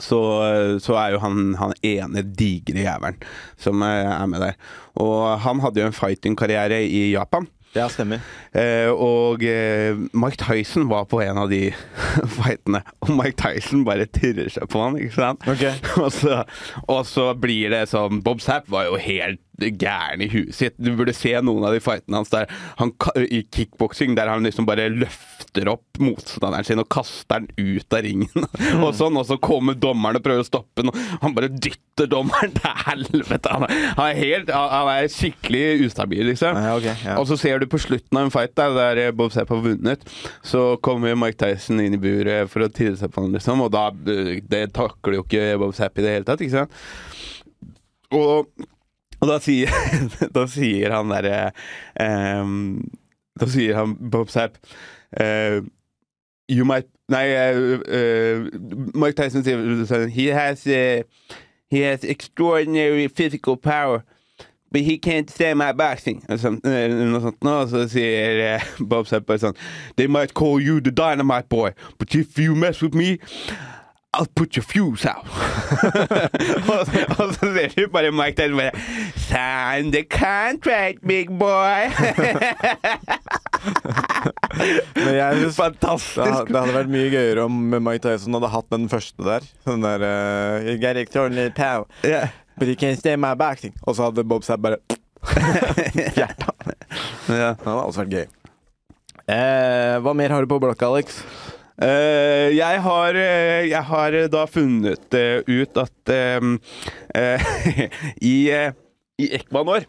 så, eh, så er jo han han ene digre jævelen som eh, er med der. Og han hadde jo en fighting-karriere i Japan.
Ja, stemmer.
Eh, og eh, Mike Tyson var på en av de <laughs> fightene, og Mike Tyson bare tirrer seg på han, ikke sant?
Ok.
<laughs> og, så, og så blir det sånn Bob Zapp var jo helt gæren i huet sitt. Du burde se noen av de fightene hans der han, ka- i kickboksing, der han liksom bare løfter opp motstanderen sin og kaster den ut av ringen. <laughs> og sånn, og så kommer dommeren og prøver å stoppe den, og han bare dytter dommeren til helvete. Han er, han er, helt, han- han er skikkelig ustabil, liksom.
Ja, ok, ja.
Og så ser du på slutten av en fight der, der Bob Zapp har vunnet, så kommer Mike Tyson inn i buret for å tirre seg på han, liksom, og da eh, det takler jo ikke Bob Zapp i det hele tatt, ikke sant? Og, og da, sier, <laughs> da sier han derre ehm, Da sier han Bob Zapp eh, You might Nei, eh, eh, Mike Tyson sier sånn He has, eh, he has extraordinary physical power. But he can't stand my boxing. Eller sånn- eh, noe sånt nå, og så sier <laughs> eh, Bob Zapp bare sånn They might call you the dynamite boy, but if you mess with me I'll put your fuse out. <laughs> og, og så ser du bare Mike Tyson bare Sign the contract, big boy. <laughs>
Men jeg <laughs> synes Det,
Fantastisk.
det hadde vært mye gøyere om Mike Tyson hadde hatt den første der. Den der uh, You got extraordinary power,
Ja.
but you can't stay my back. Og så hadde Bob Sapp <laughs> bare Hjertet.
Ja.
Det hadde også vært gøy. Eh, hva mer har du på blokka, Alex?
Eh, jeg, har, eh, jeg har eh, da funnet eh, ut at eh, eh, <laughs> i, eh, i Ecuador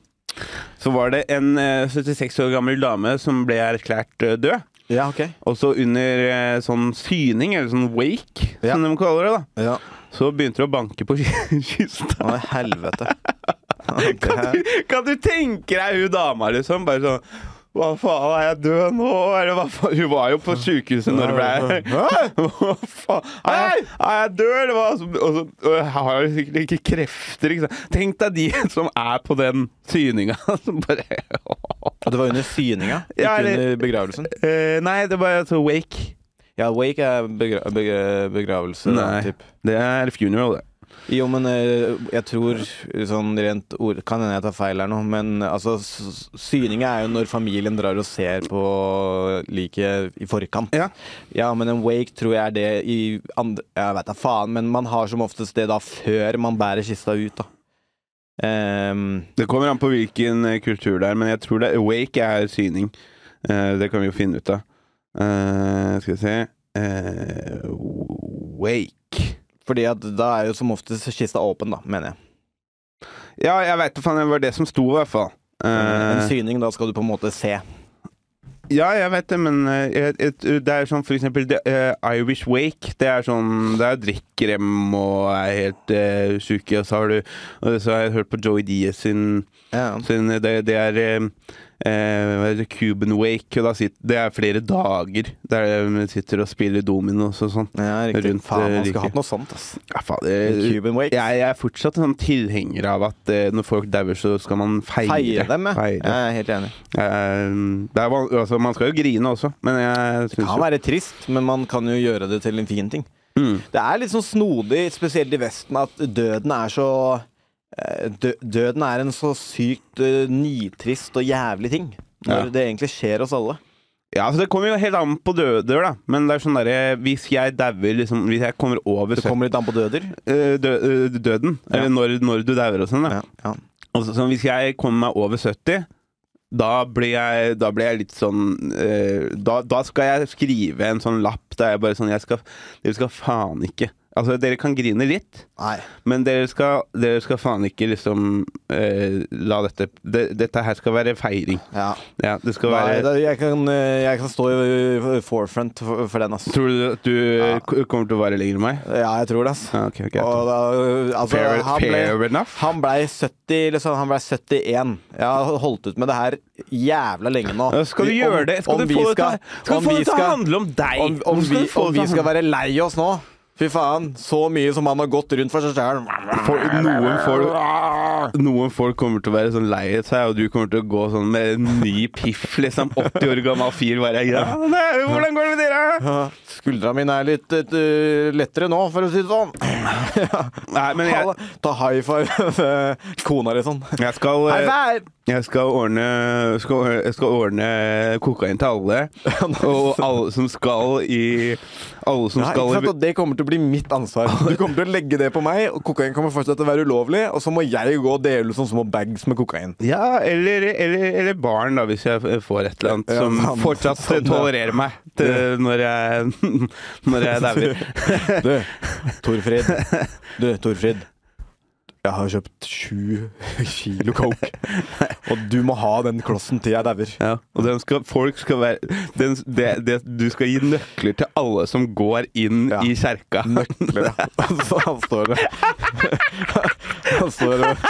så var det en eh, 76 år gammel dame som ble erklært eh, død.
Ja, ok.
Og så under eh, sånn syning, eller sånn wake,
Ja.
som de kaller det, da,
Ja.
så begynte det å banke på <laughs> ky-
Å,
kista.
helvete.
<laughs> Kan du, kan du tenke deg hun dama, liksom? Bare sånn Hva faen, er jeg død nå? Eller hva faen? Hun var jo på sykehuset når det ble <laughs> Hva faen? Er jeg, er jeg død, eller hva? Og så- og så- og jeg har jo sikkert ikke <laughs> krefter, ikke sant. Tenk deg de som er på den syninga, som bare
Og det var under syninga, ikke
Ja, eller-
under begravelsen.
Eh, nei, det var altså wake.
Ja, wake er eh, begra begra begravelse. da,
Nei.
typ.
Det er funeral, det.
Jo, men eh, jeg tror sånn rent ord Kan hende jeg tar feil her nå, men altså s- Syninga er jo når familien drar og ser på liket i forkant.
Ja.
Ja, men en wake tror jeg er det i andre Jeg veit da faen, men man har som oftest det da før man bærer kista ut, da. Ehm,
Det kommer an på hvilken eh, kultur det er, men jeg tror det wake er syning. Eh, det kan vi jo finne ut av. Eh, skal vi se Eh, Wake
fordi at da er jo som oftest kista åpen, da, mener jeg.
Ja, jeg veit da faen. Det var det som sto, i hvert fall.
En
Eh,
syning, da skal du på en måte se.
ja, jeg veit det, men eh, jeg- jeg- det er sånn for eksempel det, eh, Irish Wake. Det er sånn Der drikker dem og er helt eh, syke, og så har du og Så har jeg hørt på Joey Diaz sin
Ja.
Siden det, det er eh, eh, hva heter det, Cuban Wake, og da sit- det er flere dager der de sitter og spiller dominos og sånn.
Ja, riktig.
Rundt,
Faen,
eh,
man skulle
like.
hatt noe sånt, ass.
Ja, faen, det-
Cuban Wake.
jeg, jeg er fortsatt en sånn tilhenger av at eh, når folk dauer, så skal man feire.
Feire dem, ja. Jeg
Feire.
er helt enig.
Eh, det er, van- altså, man skal jo grine også, men jeg
Det
syns
kan være trist, men man kan jo gjøre det til en fin ting.
Mm.
Det er litt sånn snodig, spesielt i Vesten, at døden er så eh, dø- Døden er en så sykt eh, nitrist og jævlig ting. Når
Ja.
det egentlig skjer oss alle.
Ja, altså, Det kommer jo helt an på døder, da. Men det er sånn derre Hvis jeg dauer, liksom Hvis jeg kommer over
Det kommer litt an på døder.
eh, dø, eh, døden,
Ja.
eller når, når du dauer og sånn,
Ja,
da.
ja.
Altså, sånn, hvis jeg kommer meg over 70, da blir jeg, da blir jeg litt sånn eh, da, da skal jeg skrive en sånn lapp der jeg bare sånn jeg skal, Dere skal faen ikke Altså, dere kan grine litt,
Nei.
men dere skal, dere skal faen ikke liksom eh, La dette det, Dette her skal være feiring.
Ja.
Ja, det skal
Nei,
være
da, jeg, kan, eh, jeg kan stå i eh, forefront for, for den, ass.
Tror du at du eh, k- kommer til å vare lenger enn meg?
Ja, jeg tror det, ass.
Ja, ok, ok.
Og da, altså,
fair,
han ble,
fair enough.
Han blei 70, liksom, han blei 71. Jeg har holdt ut med det her jævla lenge nå.
Ja, Skal du gjøre det? Skal du få det til skal du få det til å handle om deg?
om, om,
Skal du
vi,
få
om
det til
vi
å
skal
handle-
være lei oss nå? Fy faen, så mye som han har gått rundt for seg
<laughs>
sjøl.
For noen folk, noen folk kommer til å være sånn lei seg, og du kommer til å gå sånn med en ny piff, liksom. 80 år gammel fyr. Bare, ja, nei, hvordan går det med dere?
Skuldra mine er litt eh, lettere nå, for å si det sånn. <laughs>
Nei, sånn. men jeg,
Ta high five <laughs> med kona di sånn.
jeg skal
High
eh,
five!
Jeg skal ordne, skal, ordne- jeg skal ordne kokain til alle. Og alle som skal i Alle som
Ja, ikke
skal
sant?
i
Og det kommer til å bli mitt ansvar. Du kommer til å legge det på meg, og kokain kommer fortsatt til å være ulovlig, og så må jeg gå og dele ut sånne små bags med kokain.
Ja, eller, eller, eller barn, da, hvis jeg får et eller annet
Ja,
som
sant,
fortsatt
sant, ja.
tolererer meg til, når jeg, <laughs> når jeg dauer.
Du, Torfrid. Du, Torfrid. Jeg har kjøpt sju kilo coke, og du må ha den klossen til jeg dauer.
Ja, og den skal, folk skal være den, det, det, Du skal gi nøkler til alle som går inn
Ja.
i kjerka.
Nøkler, ja. Og Så han står der. Han står der.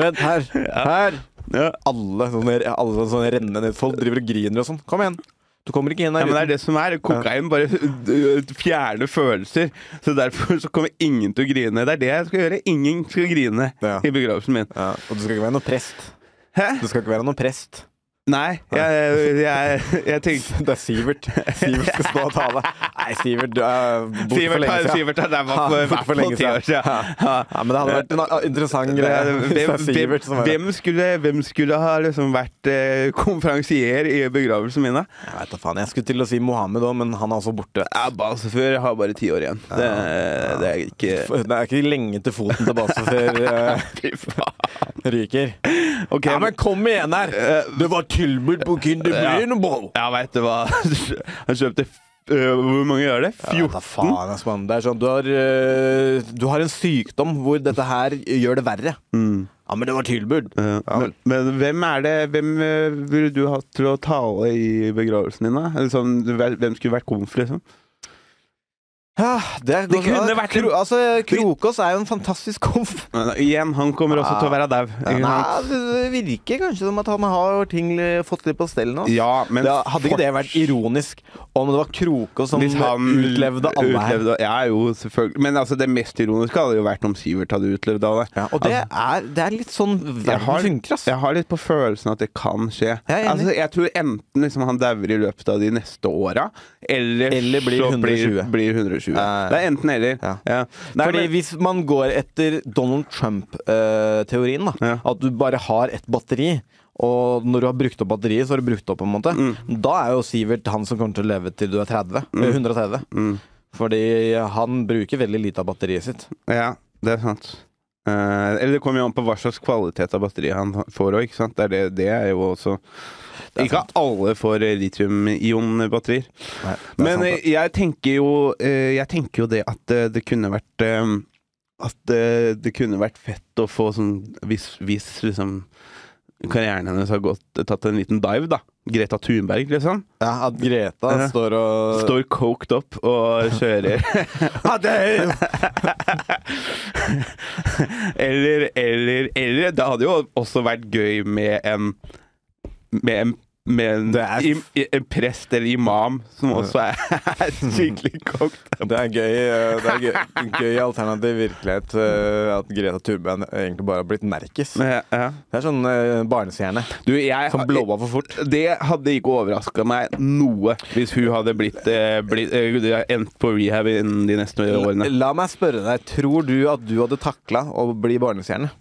Vent her. Her.
<laughs> Ja.
Alle sånne, alle sånne rennende folk driver og griner og sånn. Kom igjen. Du kommer ikke inn
Ja,
her.
men det
uten-
er det som er. Kokain bare øh, fjerner følelser. Så derfor så kommer ingen til å grine. Det er det jeg skal gjøre. Ingen skal grine
Ja.
i begravelsen min.
Ja, og du skal ikke være noen prest.
Hæ?
Du skal ikke være noen prest.
Nei, jeg, jeg, jeg tenkte
<laughs> Det er Sivert. Sivert skal stå og tale. Nei, Sivert, du er borte for
Sivert
lenge
er
siden.
Sivert er der
Ja,
for,
borte
for, for lenge siden. Ja.
Ja, men det hadde vært en a- interessant
Det
greie.
er-
<laughs> hvis det er
Hvem,
Sivert som
hvem,
er
hvem, skulle, hvem skulle ha liksom vært eh, konferansier i begravelsen min, da?
Jeg vet da faen. Jeg skulle til å si Mohammed òg, men han er også borte.
Ja, Balsefør har bare ti år igjen. Det, det er
<laughs>
ikke
Det er ikke lenge til foten til Basse <laughs> før eh,
<laughs> Fy faen.
ryker.
Ok,
Ja, men kom igjen her! Det var tilbud på Kinder
Ja.
Bryneball!
Ja, veit du hva. <laughs> Han kjøpte f- øh, Hvor mange gjør det?
Ja, vet da
14?
faen, ass, mann. Det er sånn, du har, eh, du har en sykdom hvor dette her gjør det verre. Ja, men det var tilbud.
Ja, Eh, men, men hvem er det Hvem øh, ville du hatt til å tale i begravelsen din, da? Eller Sånn, hvem skulle vært konf, liksom?
Ja, Ah, det,
Det kunne vært en-
Kro, altså, Krokås er jo en fantastisk
<laughs>
komp.
Men igjen, han kommer også til å være dau. ikke
Nei,
sant?
det det virker kanskje som at han har ting, eh, fått litt på stell nå.
Ja, men
det, hadde ikke det vært ironisk om det var Krokås som
Hvis han
sånn utlevde alle her?
utlevde- Ja, jo, selvfølgelig. Men altså, det mest ironiske hadde jo vært om Sivert hadde utlevd alle. Altså,
Ja, og det er, det er litt sånn
jeg
verden
har,
funker, ass.
jeg har litt på følelsen at det kan skje.
Jeg er enig.
altså, jeg tror enten liksom han dauer i løpet av de neste åra, eller,
Eller blir
så
120.
Blir, blir 120.
Eh.
Det er enten eller.
Ja.
Nei,
Fordi
men-
Hvis man går etter Donald Trump-teorien, da
Ja.
at du bare har ett batteri, og når du har brukt opp batteriet, så har du brukt opp, på en måte
Mm.
da er jo Sivert han som kommer til å leve til du er 30. eh, 130.
Mm.
Fordi han bruker veldig lite av batteriet sitt.
Ja, det er sant. Eh, eller det kommer jo an på hva slags kvalitet av batteri han får òg, ikke sant. Det er, det, det er jo også
er
Ikke
sant.
alle får litium-ion-batterier.
Nei, det er
Men
sant,
eh, jeg tenker jo eh, Jeg tenker jo det at eh, det kunne vært eh, At eh, det kunne vært fett å få sånn Hvis, hvis liksom karrieren hennes har gått, tatt en liten dive, da. Greta Thunberg, liksom.
da. ja, at Greta
Ja.
står og
Står coked opp og
<laughs>
kjører.
Ja, Ah, det er jo-
Eller, eller, eller Det hadde jo også vært gøy med en Med en med en,
Det er-
im, i- en prest eller imam som også er, <laughs> er skikkelig kokt.
Det er gøy, eh, det er gøy, gøy alternativ virkelighet eh, at Greta Thunberg egentlig bare har blitt nerkis. Det
Ja, ja.
er sånn eh, barnestjerne
Du, jeg,
som blowa for fort.
Det hadde ikke overraska meg noe hvis hun hadde blitt, eh, blitt eh, endt på rehab innen de neste årene.
La meg spørre deg, tror du at du hadde takla å bli barnestjerne?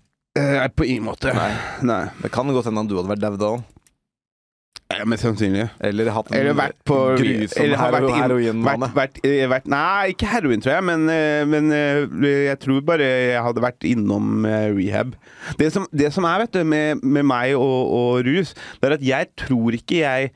Eh, på ingen måte. Nei. Nei.
Det kan godt hende at du hadde vært daud òg.
Eh, Mest sannsynlig.
Eller hatt en
Eller vært på
grusom
eller har
hero-
vært inn-
heroinvane.
vært- vært- eh, vært- Nei, ikke heroin, tror jeg, men, eh, men eh, jeg tror bare jeg hadde vært innom eh, rehab. Det som, det som er vet du, med, med meg og, og rus, det er at jeg tror ikke jeg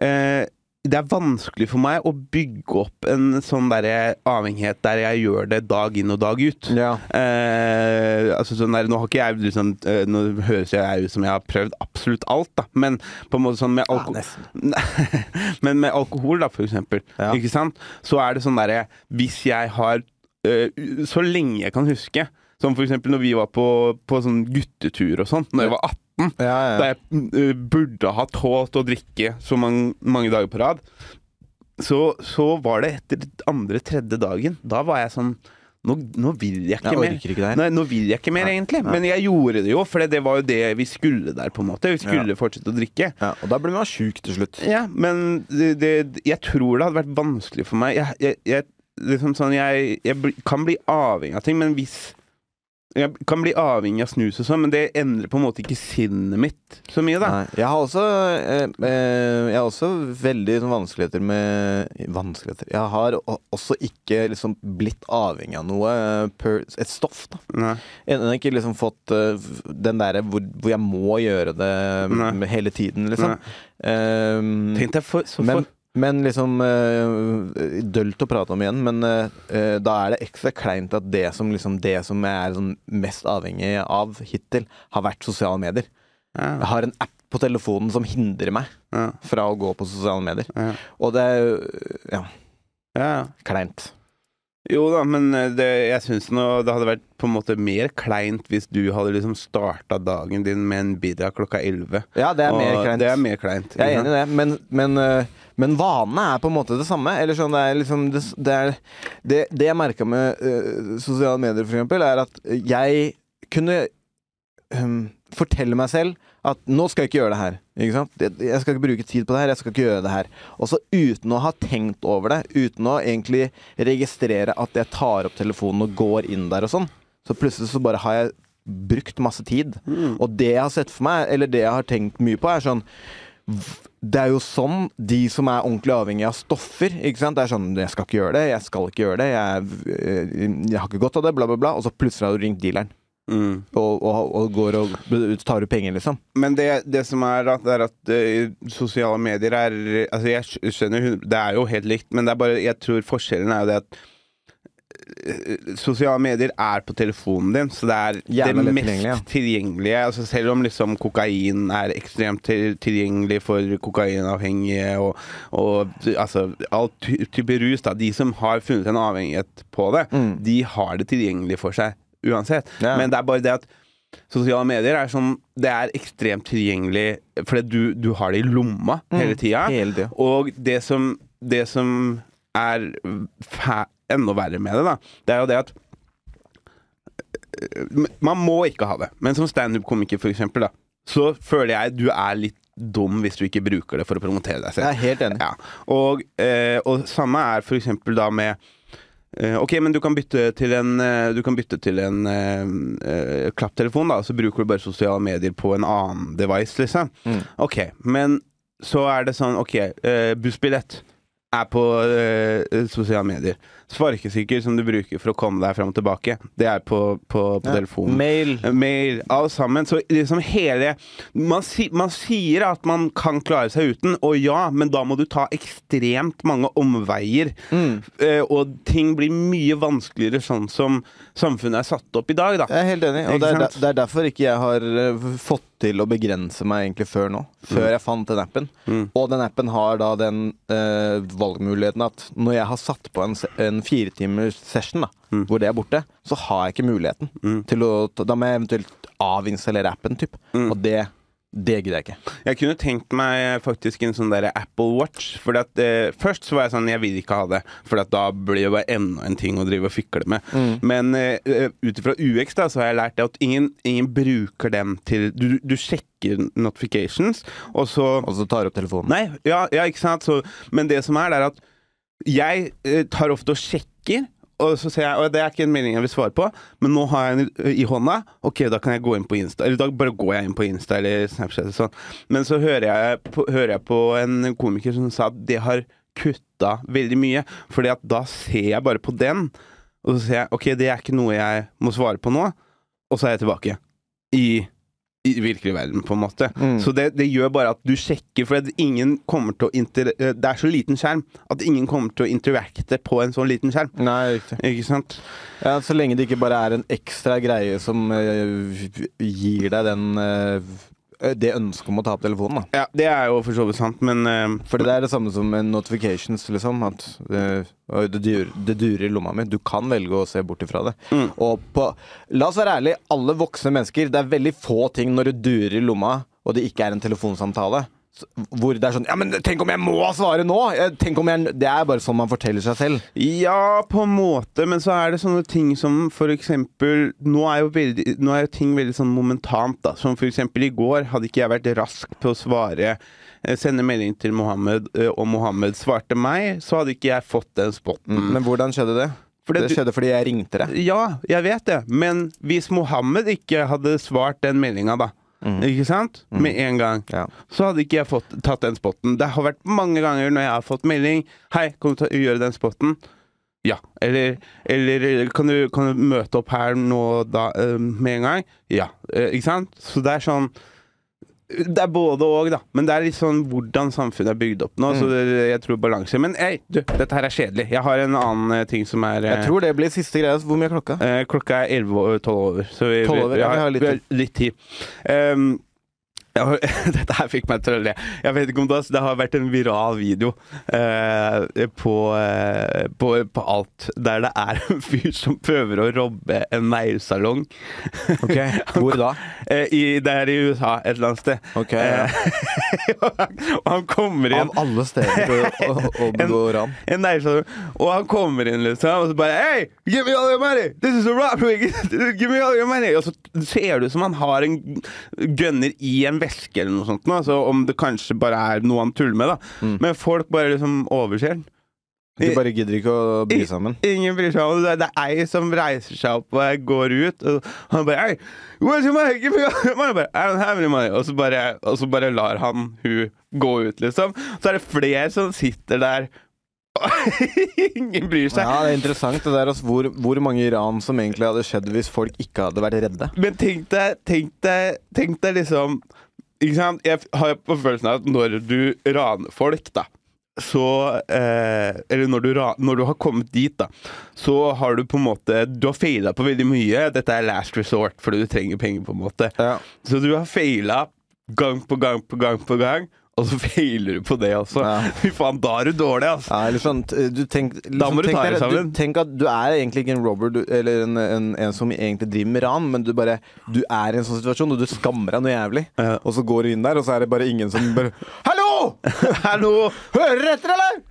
eh, det er vanskelig for meg å bygge opp en sånn derre avhengighet der jeg gjør det dag inn og dag ut.
Ja.
Eh, altså sånn der, nå har ikke jeg liksom, eh, Nå høres jeg ut som jeg har prøvd absolutt alt, da. Men på en måte sånn med alko
Ja, nesten.
<laughs> Men med alkohol, da, for eksempel,
Ja.
ikke sant? så er det sånn derre Hvis jeg har eh, u- Så lenge jeg kan huske, som for eksempel når vi var på, på sånn guttetur og sånn, når jeg var 18
Ja,
da
ja.
jeg eh, burde ha tålt å drikke så mange, mange dager på rad, så, så var det etter andre, tredje dagen. Da var jeg sånn Nå, nå vil jeg ikke
Jeg
mer.
orker ikke det her.
Nei, nå vil jeg ikke mer, egentlig. Men jeg gjorde det jo, for det var jo det vi skulle der, på en måte. Vi skulle fortsette å drikke.
ja. Og da blir man sjuk til slutt.
Ja, men det, det, jeg tror det hadde vært vanskelig for meg. Jeg, jeg, jeg, liksom sånn, jeg, jeg bli, kan bli avhengig av ting, men hvis Jeg kan bli avhengig av snus og sånn, men det endrer på en måte ikke sinnet mitt så mye, da.
Nei. Jeg har også eh, eh, Jeg har også veldig sånn, vanskeligheter med Vanskeligheter Jeg har o- også ikke liksom blitt avhengig av noe eh, per, Et stoff, da.
Nei.
Jeg har ikke liksom fått eh, den derre hvor, hvor jeg må gjøre det
Nei.
hele tiden, liksom. Ehm,
Tenk deg for, så
men,
for
men liksom eh, Dølt å prate om igjen, men eh, eh, da er det ekstra kleint at det som, liksom, det som jeg er sånn mest avhengig av hittil, har vært sosiale medier. Jeg har en app på telefonen som hindrer meg
Ja.
fra å gå på sosiale medier.
Ja.
Og det er jo- ja,
ja.
kleint.
Jo da, men eh, det, jeg syns nå det hadde vært på en måte mer kleint hvis du hadde liksom starta dagen din med en birra klokka elleve.
Ja, det er mer
Og
kleint.
Det er mer kleint.
Jeg er enig i det, men, men, øh, men vanene er på en måte det samme. Eller sånn, det, er liksom, det, det, er, det, det jeg merka med øh, sosiale medier, for eksempel, er at jeg kunne øhm, fortelle meg selv at nå skal jeg ikke gjøre det her. Ikke sant? Jeg- Jeg skal ikke bruke tid på det her, jeg skal ikke gjøre det her. Og så uten å ha tenkt over det, uten å egentlig registrere at jeg tar opp telefonen og går inn der og sånn, så plutselig så bare har jeg brukt masse tid. Og det jeg har sett for meg, eller det jeg har tenkt mye på, er sånn det er jo sånn de som er ordentlig avhengig av stoffer ikke sant? Det er sånn 'Jeg skal ikke gjøre det. Jeg skal ikke gjøre det. Jeg, eh, jeg har ikke godt av det.' Bla, bla, bla. Og så plutselig har du ringt dealeren
Mm.
og, og, og går og tar ut penger, liksom.
Men det, det som er at, det er at eh, sosiale medier er Altså, jeg skj- skjønner hun- Det er jo helt likt, men det er bare Jeg tror forskjellen er jo det at eh, Sosiale medier er på telefonen din, så det er
Jævla lett
det mest
tilgjengelig, ja.
tilgjengelige. Altså selv om liksom kokain er ekstremt til, tilgjengelig for kokainavhengige og, og altså, all ty- type rus, da. De som har funnet en avhengighet på det, de har det tilgjengelig for seg uansett.
Mm. Ja.
Men det er bare det at Sosiale medier er sånn Det er ekstremt tilgjengelig, fordi du, du har det i lomma hele tida.
hele tida.
Og det som, det som er fæ enda verre med det, da, det er jo det at Man må ikke ha det. Men som standup-komiker, for eksempel, da, så føler jeg du er litt dum hvis du ikke bruker det for å promotere deg selv.
Jeg er helt enig.
Ja. Og, eh, og samme er for eksempel da med eh, Ok, men du kan bytte til en, eh, du kan bytte til en eh, eh, klapptelefon, da. Så bruker du bare sosiale medier på en annen device, liksom.
Mm.
Ok, men så er det sånn Ok, eh, bussbillett er på eh, sosiale medier. Sparkesykkel som du bruker for å komme deg fram og tilbake, det er på, på, på telefonen.
Mail.
Mail, alt sammen. Så liksom hele man, si, man sier at man kan klare seg uten, og ja, men da må du ta ekstremt mange omveier.
Mm.
Eh, og ting blir mye vanskeligere sånn som samfunnet er satt opp i dag, da.
Jeg er helt enig, og
Ikke
det er,
sant?
der- det er derfor ikke jeg har eh, fått til å begrense meg egentlig før nå.
Mm.
Før jeg fant den appen. Og den appen har da den eh, valgmuligheten at når jeg har satt på en, se- en fire timers session, da,
Mm.
hvor det er borte, så har jeg ikke muligheten til å ta- Da må jeg eventuelt avinstallere appen, typ.
Mm.
Og det, det gidder jeg ikke.
Jeg kunne tenkt meg faktisk en sånn der Apple Watch. Fordi at eh, Først så var jeg sånn Jeg vil ikke ha det, for at da blir det bare enda en ting å drive og fikle med. Men uh, ut ifra UX da så har jeg lært det at ingen, ingen bruker dem til du, du sjekker notifications, og så
Og så tar jeg opp telefonen.
Nei, ja, ja ikke sant? Så, men det som er, det er at jeg eh, tar ofte og sjekker, og så ser jeg Og det er ikke en melding jeg vil svare på, men nå har jeg den i- i hånda. Ok, da kan jeg gå inn på Insta. Eller da bare går jeg inn på Insta eller Snapchat eller sånn. Men så hører jeg på, hører jeg på en komiker som sa at det har kutta veldig mye, fordi at da ser jeg bare på den, og så ser jeg ok, det er ikke noe jeg må svare på nå, og så er jeg tilbake i i virkelig verden, på en måte. Så det, det gjør bare at du sjekker, for at ingen kommer til å inter eh, Det er så liten skjerm at ingen kommer til å interacte på en sånn liten skjerm.
Nei, riktig.
Ikke sant?
Ja, så lenge det ikke bare er en ekstra greie som eh, gir deg den eh, det ønsket om å ta opp telefonen, da.
Ja, det er jo for så vidt sant, men eh,
For det er det samme som med notifications, liksom. At eh, oi, det, durer, det durer i lomma mi. Du kan velge å se bort ifra det.
Mm.
Og på La oss være ærlige, alle voksne mennesker. Det er veldig få ting når det durer i lomma, og det ikke er en telefonsamtale. s- Hvor det er sånn Ja, men tenk om jeg må svare nå?! Eh, Tenk om jeg, det er bare sånn man forteller seg selv.
Ja, på en måte, men så er det sånne ting som for eksempel Nå er jo, veldig, nå er jo ting veldig sånn momentant, da. Som for eksempel i går hadde ikke jeg vært rask på å svare eh, Sende melding til Mohammed, eh, og Mohammed svarte meg, så hadde ikke jeg fått den spotten.
Men hvordan skjedde det?
Mm. Fordi
det
du-
skjedde fordi jeg ringte deg.
Ja, jeg vet det. Men hvis Mohammed ikke hadde svart den meldinga, da. Ikke sant? Med en gang.
Mm. Ja.
Så hadde ikke jeg fått, tatt den spotten. Det har vært mange ganger når jeg har fått melding 'Hei, kan du ta, gjøre den spotten?' Ja. Eller, eller kan, du, 'Kan du møte opp her nå da, eh, med en gang?' Ja. Eh, ikke sant? Så det er sånn det er både og, da. Men det er litt sånn hvordan samfunnet er bygd opp nå.
Mm.
Så det, jeg tror balanse. Men ei, du, dette her er kjedelig. Jeg har en annen eh, ting som er eh,
Jeg tror det blir siste greia. Hvor mye er klokka?
Eh, klokka er 11 og 12 over, så vi,
12 over,
vi,
ja,
har,
vi har litt
vi har litt tid. Ehm, jeg har- <laughs> dette her fikk meg til å le. Jeg vet ikke om det, har- det har vært en viral video eh, på, eh, på, på alt, der det er en fyr som prøver å robbe en neglesalong.
Hvor da?
<laughs> Eh, i- det er i USA, et eller annet sted.
Ok,
Eh, <laughs> og han kommer inn
Av alle steder å, å, å begå ran.
<laughs> en nærsalong. Og han kommer inn, liksom, og så bare Hey, give me all your money! This is a <laughs> robbery! give me all your money! Og så ser det ut som han har en gunner i en veske eller noe sånt, nå, så om det kanskje bare er noe han tuller med, da. Men folk bare liksom overser den.
Du bare gidder ikke å bry seg om den.
Ingen bryr seg om det. Det er ei som reiser seg opp og går ut, og han bare hey, where's your money? Give me your money. Jeg Bare, I don't have any money. Og så bare, og så bare lar han hun gå ut, liksom. Så er det flere som sitter der. <laughs> Ingen bryr seg.
Ja, det
<laughs>
er interessant det der, altså, hvor, hvor mange ran som egentlig hadde skjedd hvis folk ikke hadde vært redde.
Men tenk deg, tenk deg, tenk deg liksom ikke sant? Jeg har på følelsen av at når du raner folk, da så eh, Eller når du, ra- når du har kommet dit, da, så har du på en måte Du har feila på veldig mye. Dette er last resort, fordi du trenger penger, på en måte.
Ja.
Så du har feila gang på gang på gang på gang, og så feiler du på det også.
Ja.
<laughs> Fy faen, da er du dårlig, altså.
Ja, eller sånn, t- du tenk,
Da
liksom,
må du ta
tenk
deg
deg-
sammen.
tenk at du er egentlig ikke en robber du, eller en, en, en som egentlig driver med ran, men du bare Du er i en sånn situasjon, og du skammer deg noe jævlig.
Ja.
Og så går du inn der, og så er det bare ingen som bare <laughs> Hallo!
Hallo!
Hører dere etter, eller?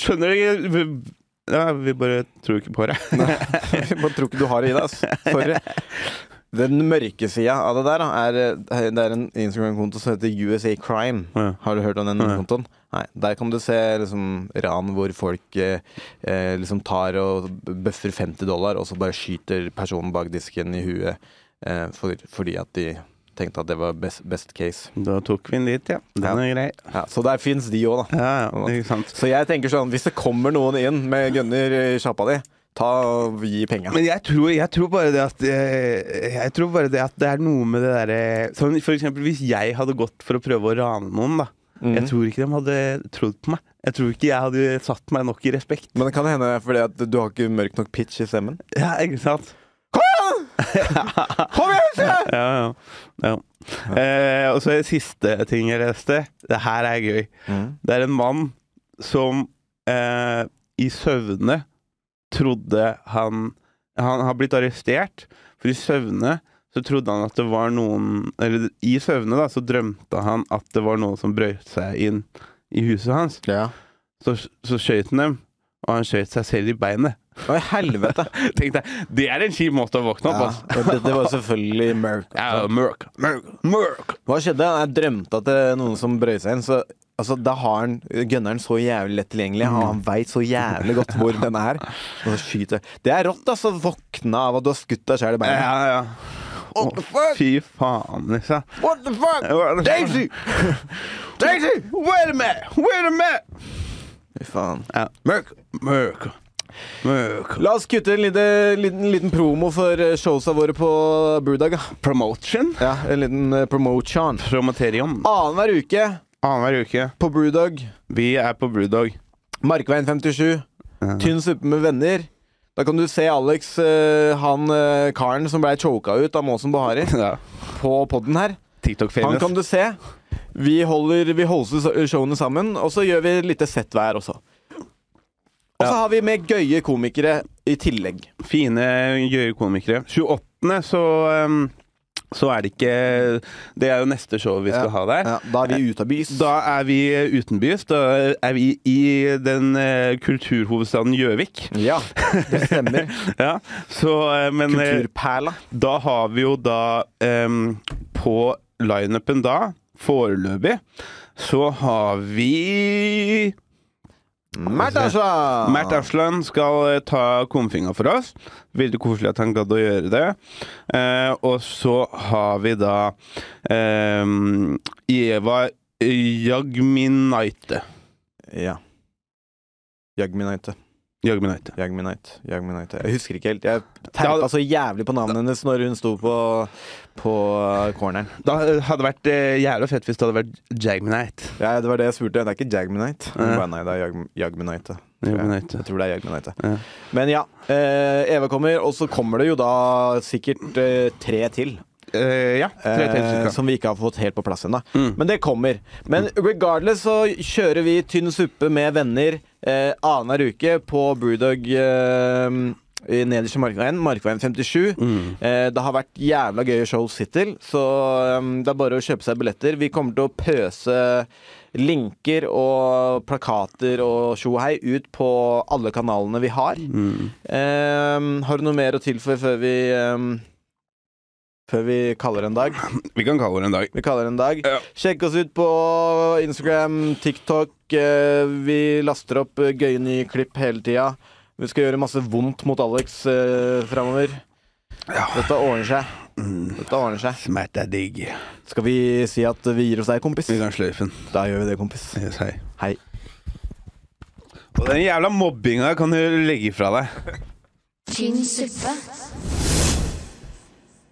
Skjønner du ikke vi- ja, Vi bare tror ikke på det.
<laughs> Jeg bare tror ikke du har det i deg. ass. Sorry. Den mørke sida av det der da, er, eh, det er en Instagram-konto som heter USA Crime.
Ja.
Har du hørt om den
Nei.
kontoen? Nei. Der kan du se liksom, ran hvor folk eh, eh, liksom tar og bøffer 50 dollar, og så bare skyter personen bak disken i huet eh, for, fordi at de tenkte at det var best, best case.
<laughs> Da tok vi den dit, ja. Den er grei.
Ja, så der fins de òg, da.
Ja, ja, ikke sant.
Så jeg tenker sånn, hvis det kommer noen inn med gunner eh, i sjappa di, ta og gi penga.
Men jeg tror, jeg tror bare det at eh, Jeg tror bare det at det er noe med det derre Sånn for eksempel hvis jeg hadde gått for å prøve å rane noen, da. Jeg tror ikke de hadde trodd på meg. Jeg tror ikke jeg hadde satt meg nok i respekt.
Men det kan hende det er fordi at du har ikke mørk nok pitch i stemmen.
Ja, ikke sant?
Kom igjen, sier jeg!
Ja, ja. ja. Eh, og så en siste ting jeg leste. Det her er gøy.
Mm.
Det er en mann som eh, i søvne trodde han Han har blitt arrestert, for i søvne så trodde han at det var noen Eller i søvne, da, så drømte han at det var noen som brøt seg inn i huset hans.
Ja.
Så, så skjøt han dem, og han skjøt seg selv i beinet.
Å, i helvete.
<laughs> Tenkte jeg, Det er en kjip måte å våkne opp
Ja.
altså.
Det, det var selvfølgelig mørkt.
Ja, mørk, mørk, mørk.
Hva skjedde? Jeg drømte at det er noen som brøt seg inn. Så altså, da har han gunneren så jævlig lett tilgjengelig. og Han veit så jævlig godt hvor den er. Og så skyter Det er rått, altså. Våkne av at du har skutt deg sjæl i
Ja,
beinet.
ja, ja.
What the fuck?
Fy faen, liksom.
What the fuck?
Daisy! <laughs> Daisy! Wait a minute! Wait a minute!
Fy faen.
Ja. Mørk, mørk, mørk.
La oss kutte en liten, liten, liten promo for eh, showsa våre på Brewdag. da.
Promotion?
Ja, en liten eh, promotion.
Promoterium.
Annenhver uke
Annenhver uke.
på Brewdag.
Vi er på Brewdog.
Markveien 57. Tynn suppe med venner. Da kan du se Alex, eh, han eh, karen som blei choka ut av Måsen Bahari,
<laughs> Ja.
på poden her. Han
TikTok-famous.
kan du se. Vi holder vi holder showene sammen, og så gjør vi et lite sett hver også. Og så
Ja.
har vi med gøye komikere i tillegg.
Fine, gøye komikere. 28. så um, så er det ikke Det er jo neste show vi skal
Ja.
ha der.
Ja, da er vi ute av bys.
Da er vi eh, utenbys. Da er vi i den eh, kulturhovedstaden Gjøvik.
Ja, det stemmer.
<laughs> Ja, så, eh, men eh,
Kulturperla.
da har vi jo da em, På lineupen da, foreløpig, så har vi eh,
Mert Arnstad!
Mert Asland skal eh, ta komfinga for oss. Veldig koselig at han gadd å gjøre det. Eh, og så har vi da em, Eva Jagminaite.
Ja. Jagminaite.
Jagminaite.
Jagminaite. Jagminaite. Jeg husker ikke helt. Jeg
Ja,
tappa
da-
så jævlig på navnet hennes når hun sto på, på eh, corneren.
Da hadde det vært eh, jævla fett hvis det hadde vært Jagminaite.
Ja, det var det jeg spurte. Det er ikke Jagminite. Hun
Ja.
bare, nei, det er Jag- Jagminite.
Jagminaite.
Jeg tror det er Jagminite.
Ja.
Men ja, eh, Eva kommer, og så kommer det jo da sikkert eh, tre til.
Eh, ja. Tre til,
eh,
cirka.
som vi ikke har fått helt på plass ennå.
Mm.
Men det kommer. Men regardless så kjører vi tynn suppe med venner eh, annenhver uke på Brewdog eh, i nederste Markveien, Markveien 57.
Mm.
Eh, det har vært jævla gøye shows hittil, så eh, det er bare å kjøpe seg billetter. Vi kommer til å pøse linker og plakater og tjohei ut på alle kanalene vi har.
Mm.
Eh, har du noe mer å tilføye før vi eh, før vi kaller det en dag?
Vi kan kalle det en dag. Eh,
Vi kaller det en dag.
Ja.
Sjekk oss ut på Instagram, TikTok. eh, Vi laster opp eh, gøye nye klipp hele tida. Vi skal gjøre masse vondt mot Alex eh, framover. Dette ordner seg. Dette ordner seg.
Smert er digg.
Skal vi si at vi gir oss deg, kompis?
Vi kan sløyfe den.
Da gjør vi det, kompis.
Yes, hei.
Hei.
Og den jævla mobbinga kan du legge fra deg.
Tynn suppe.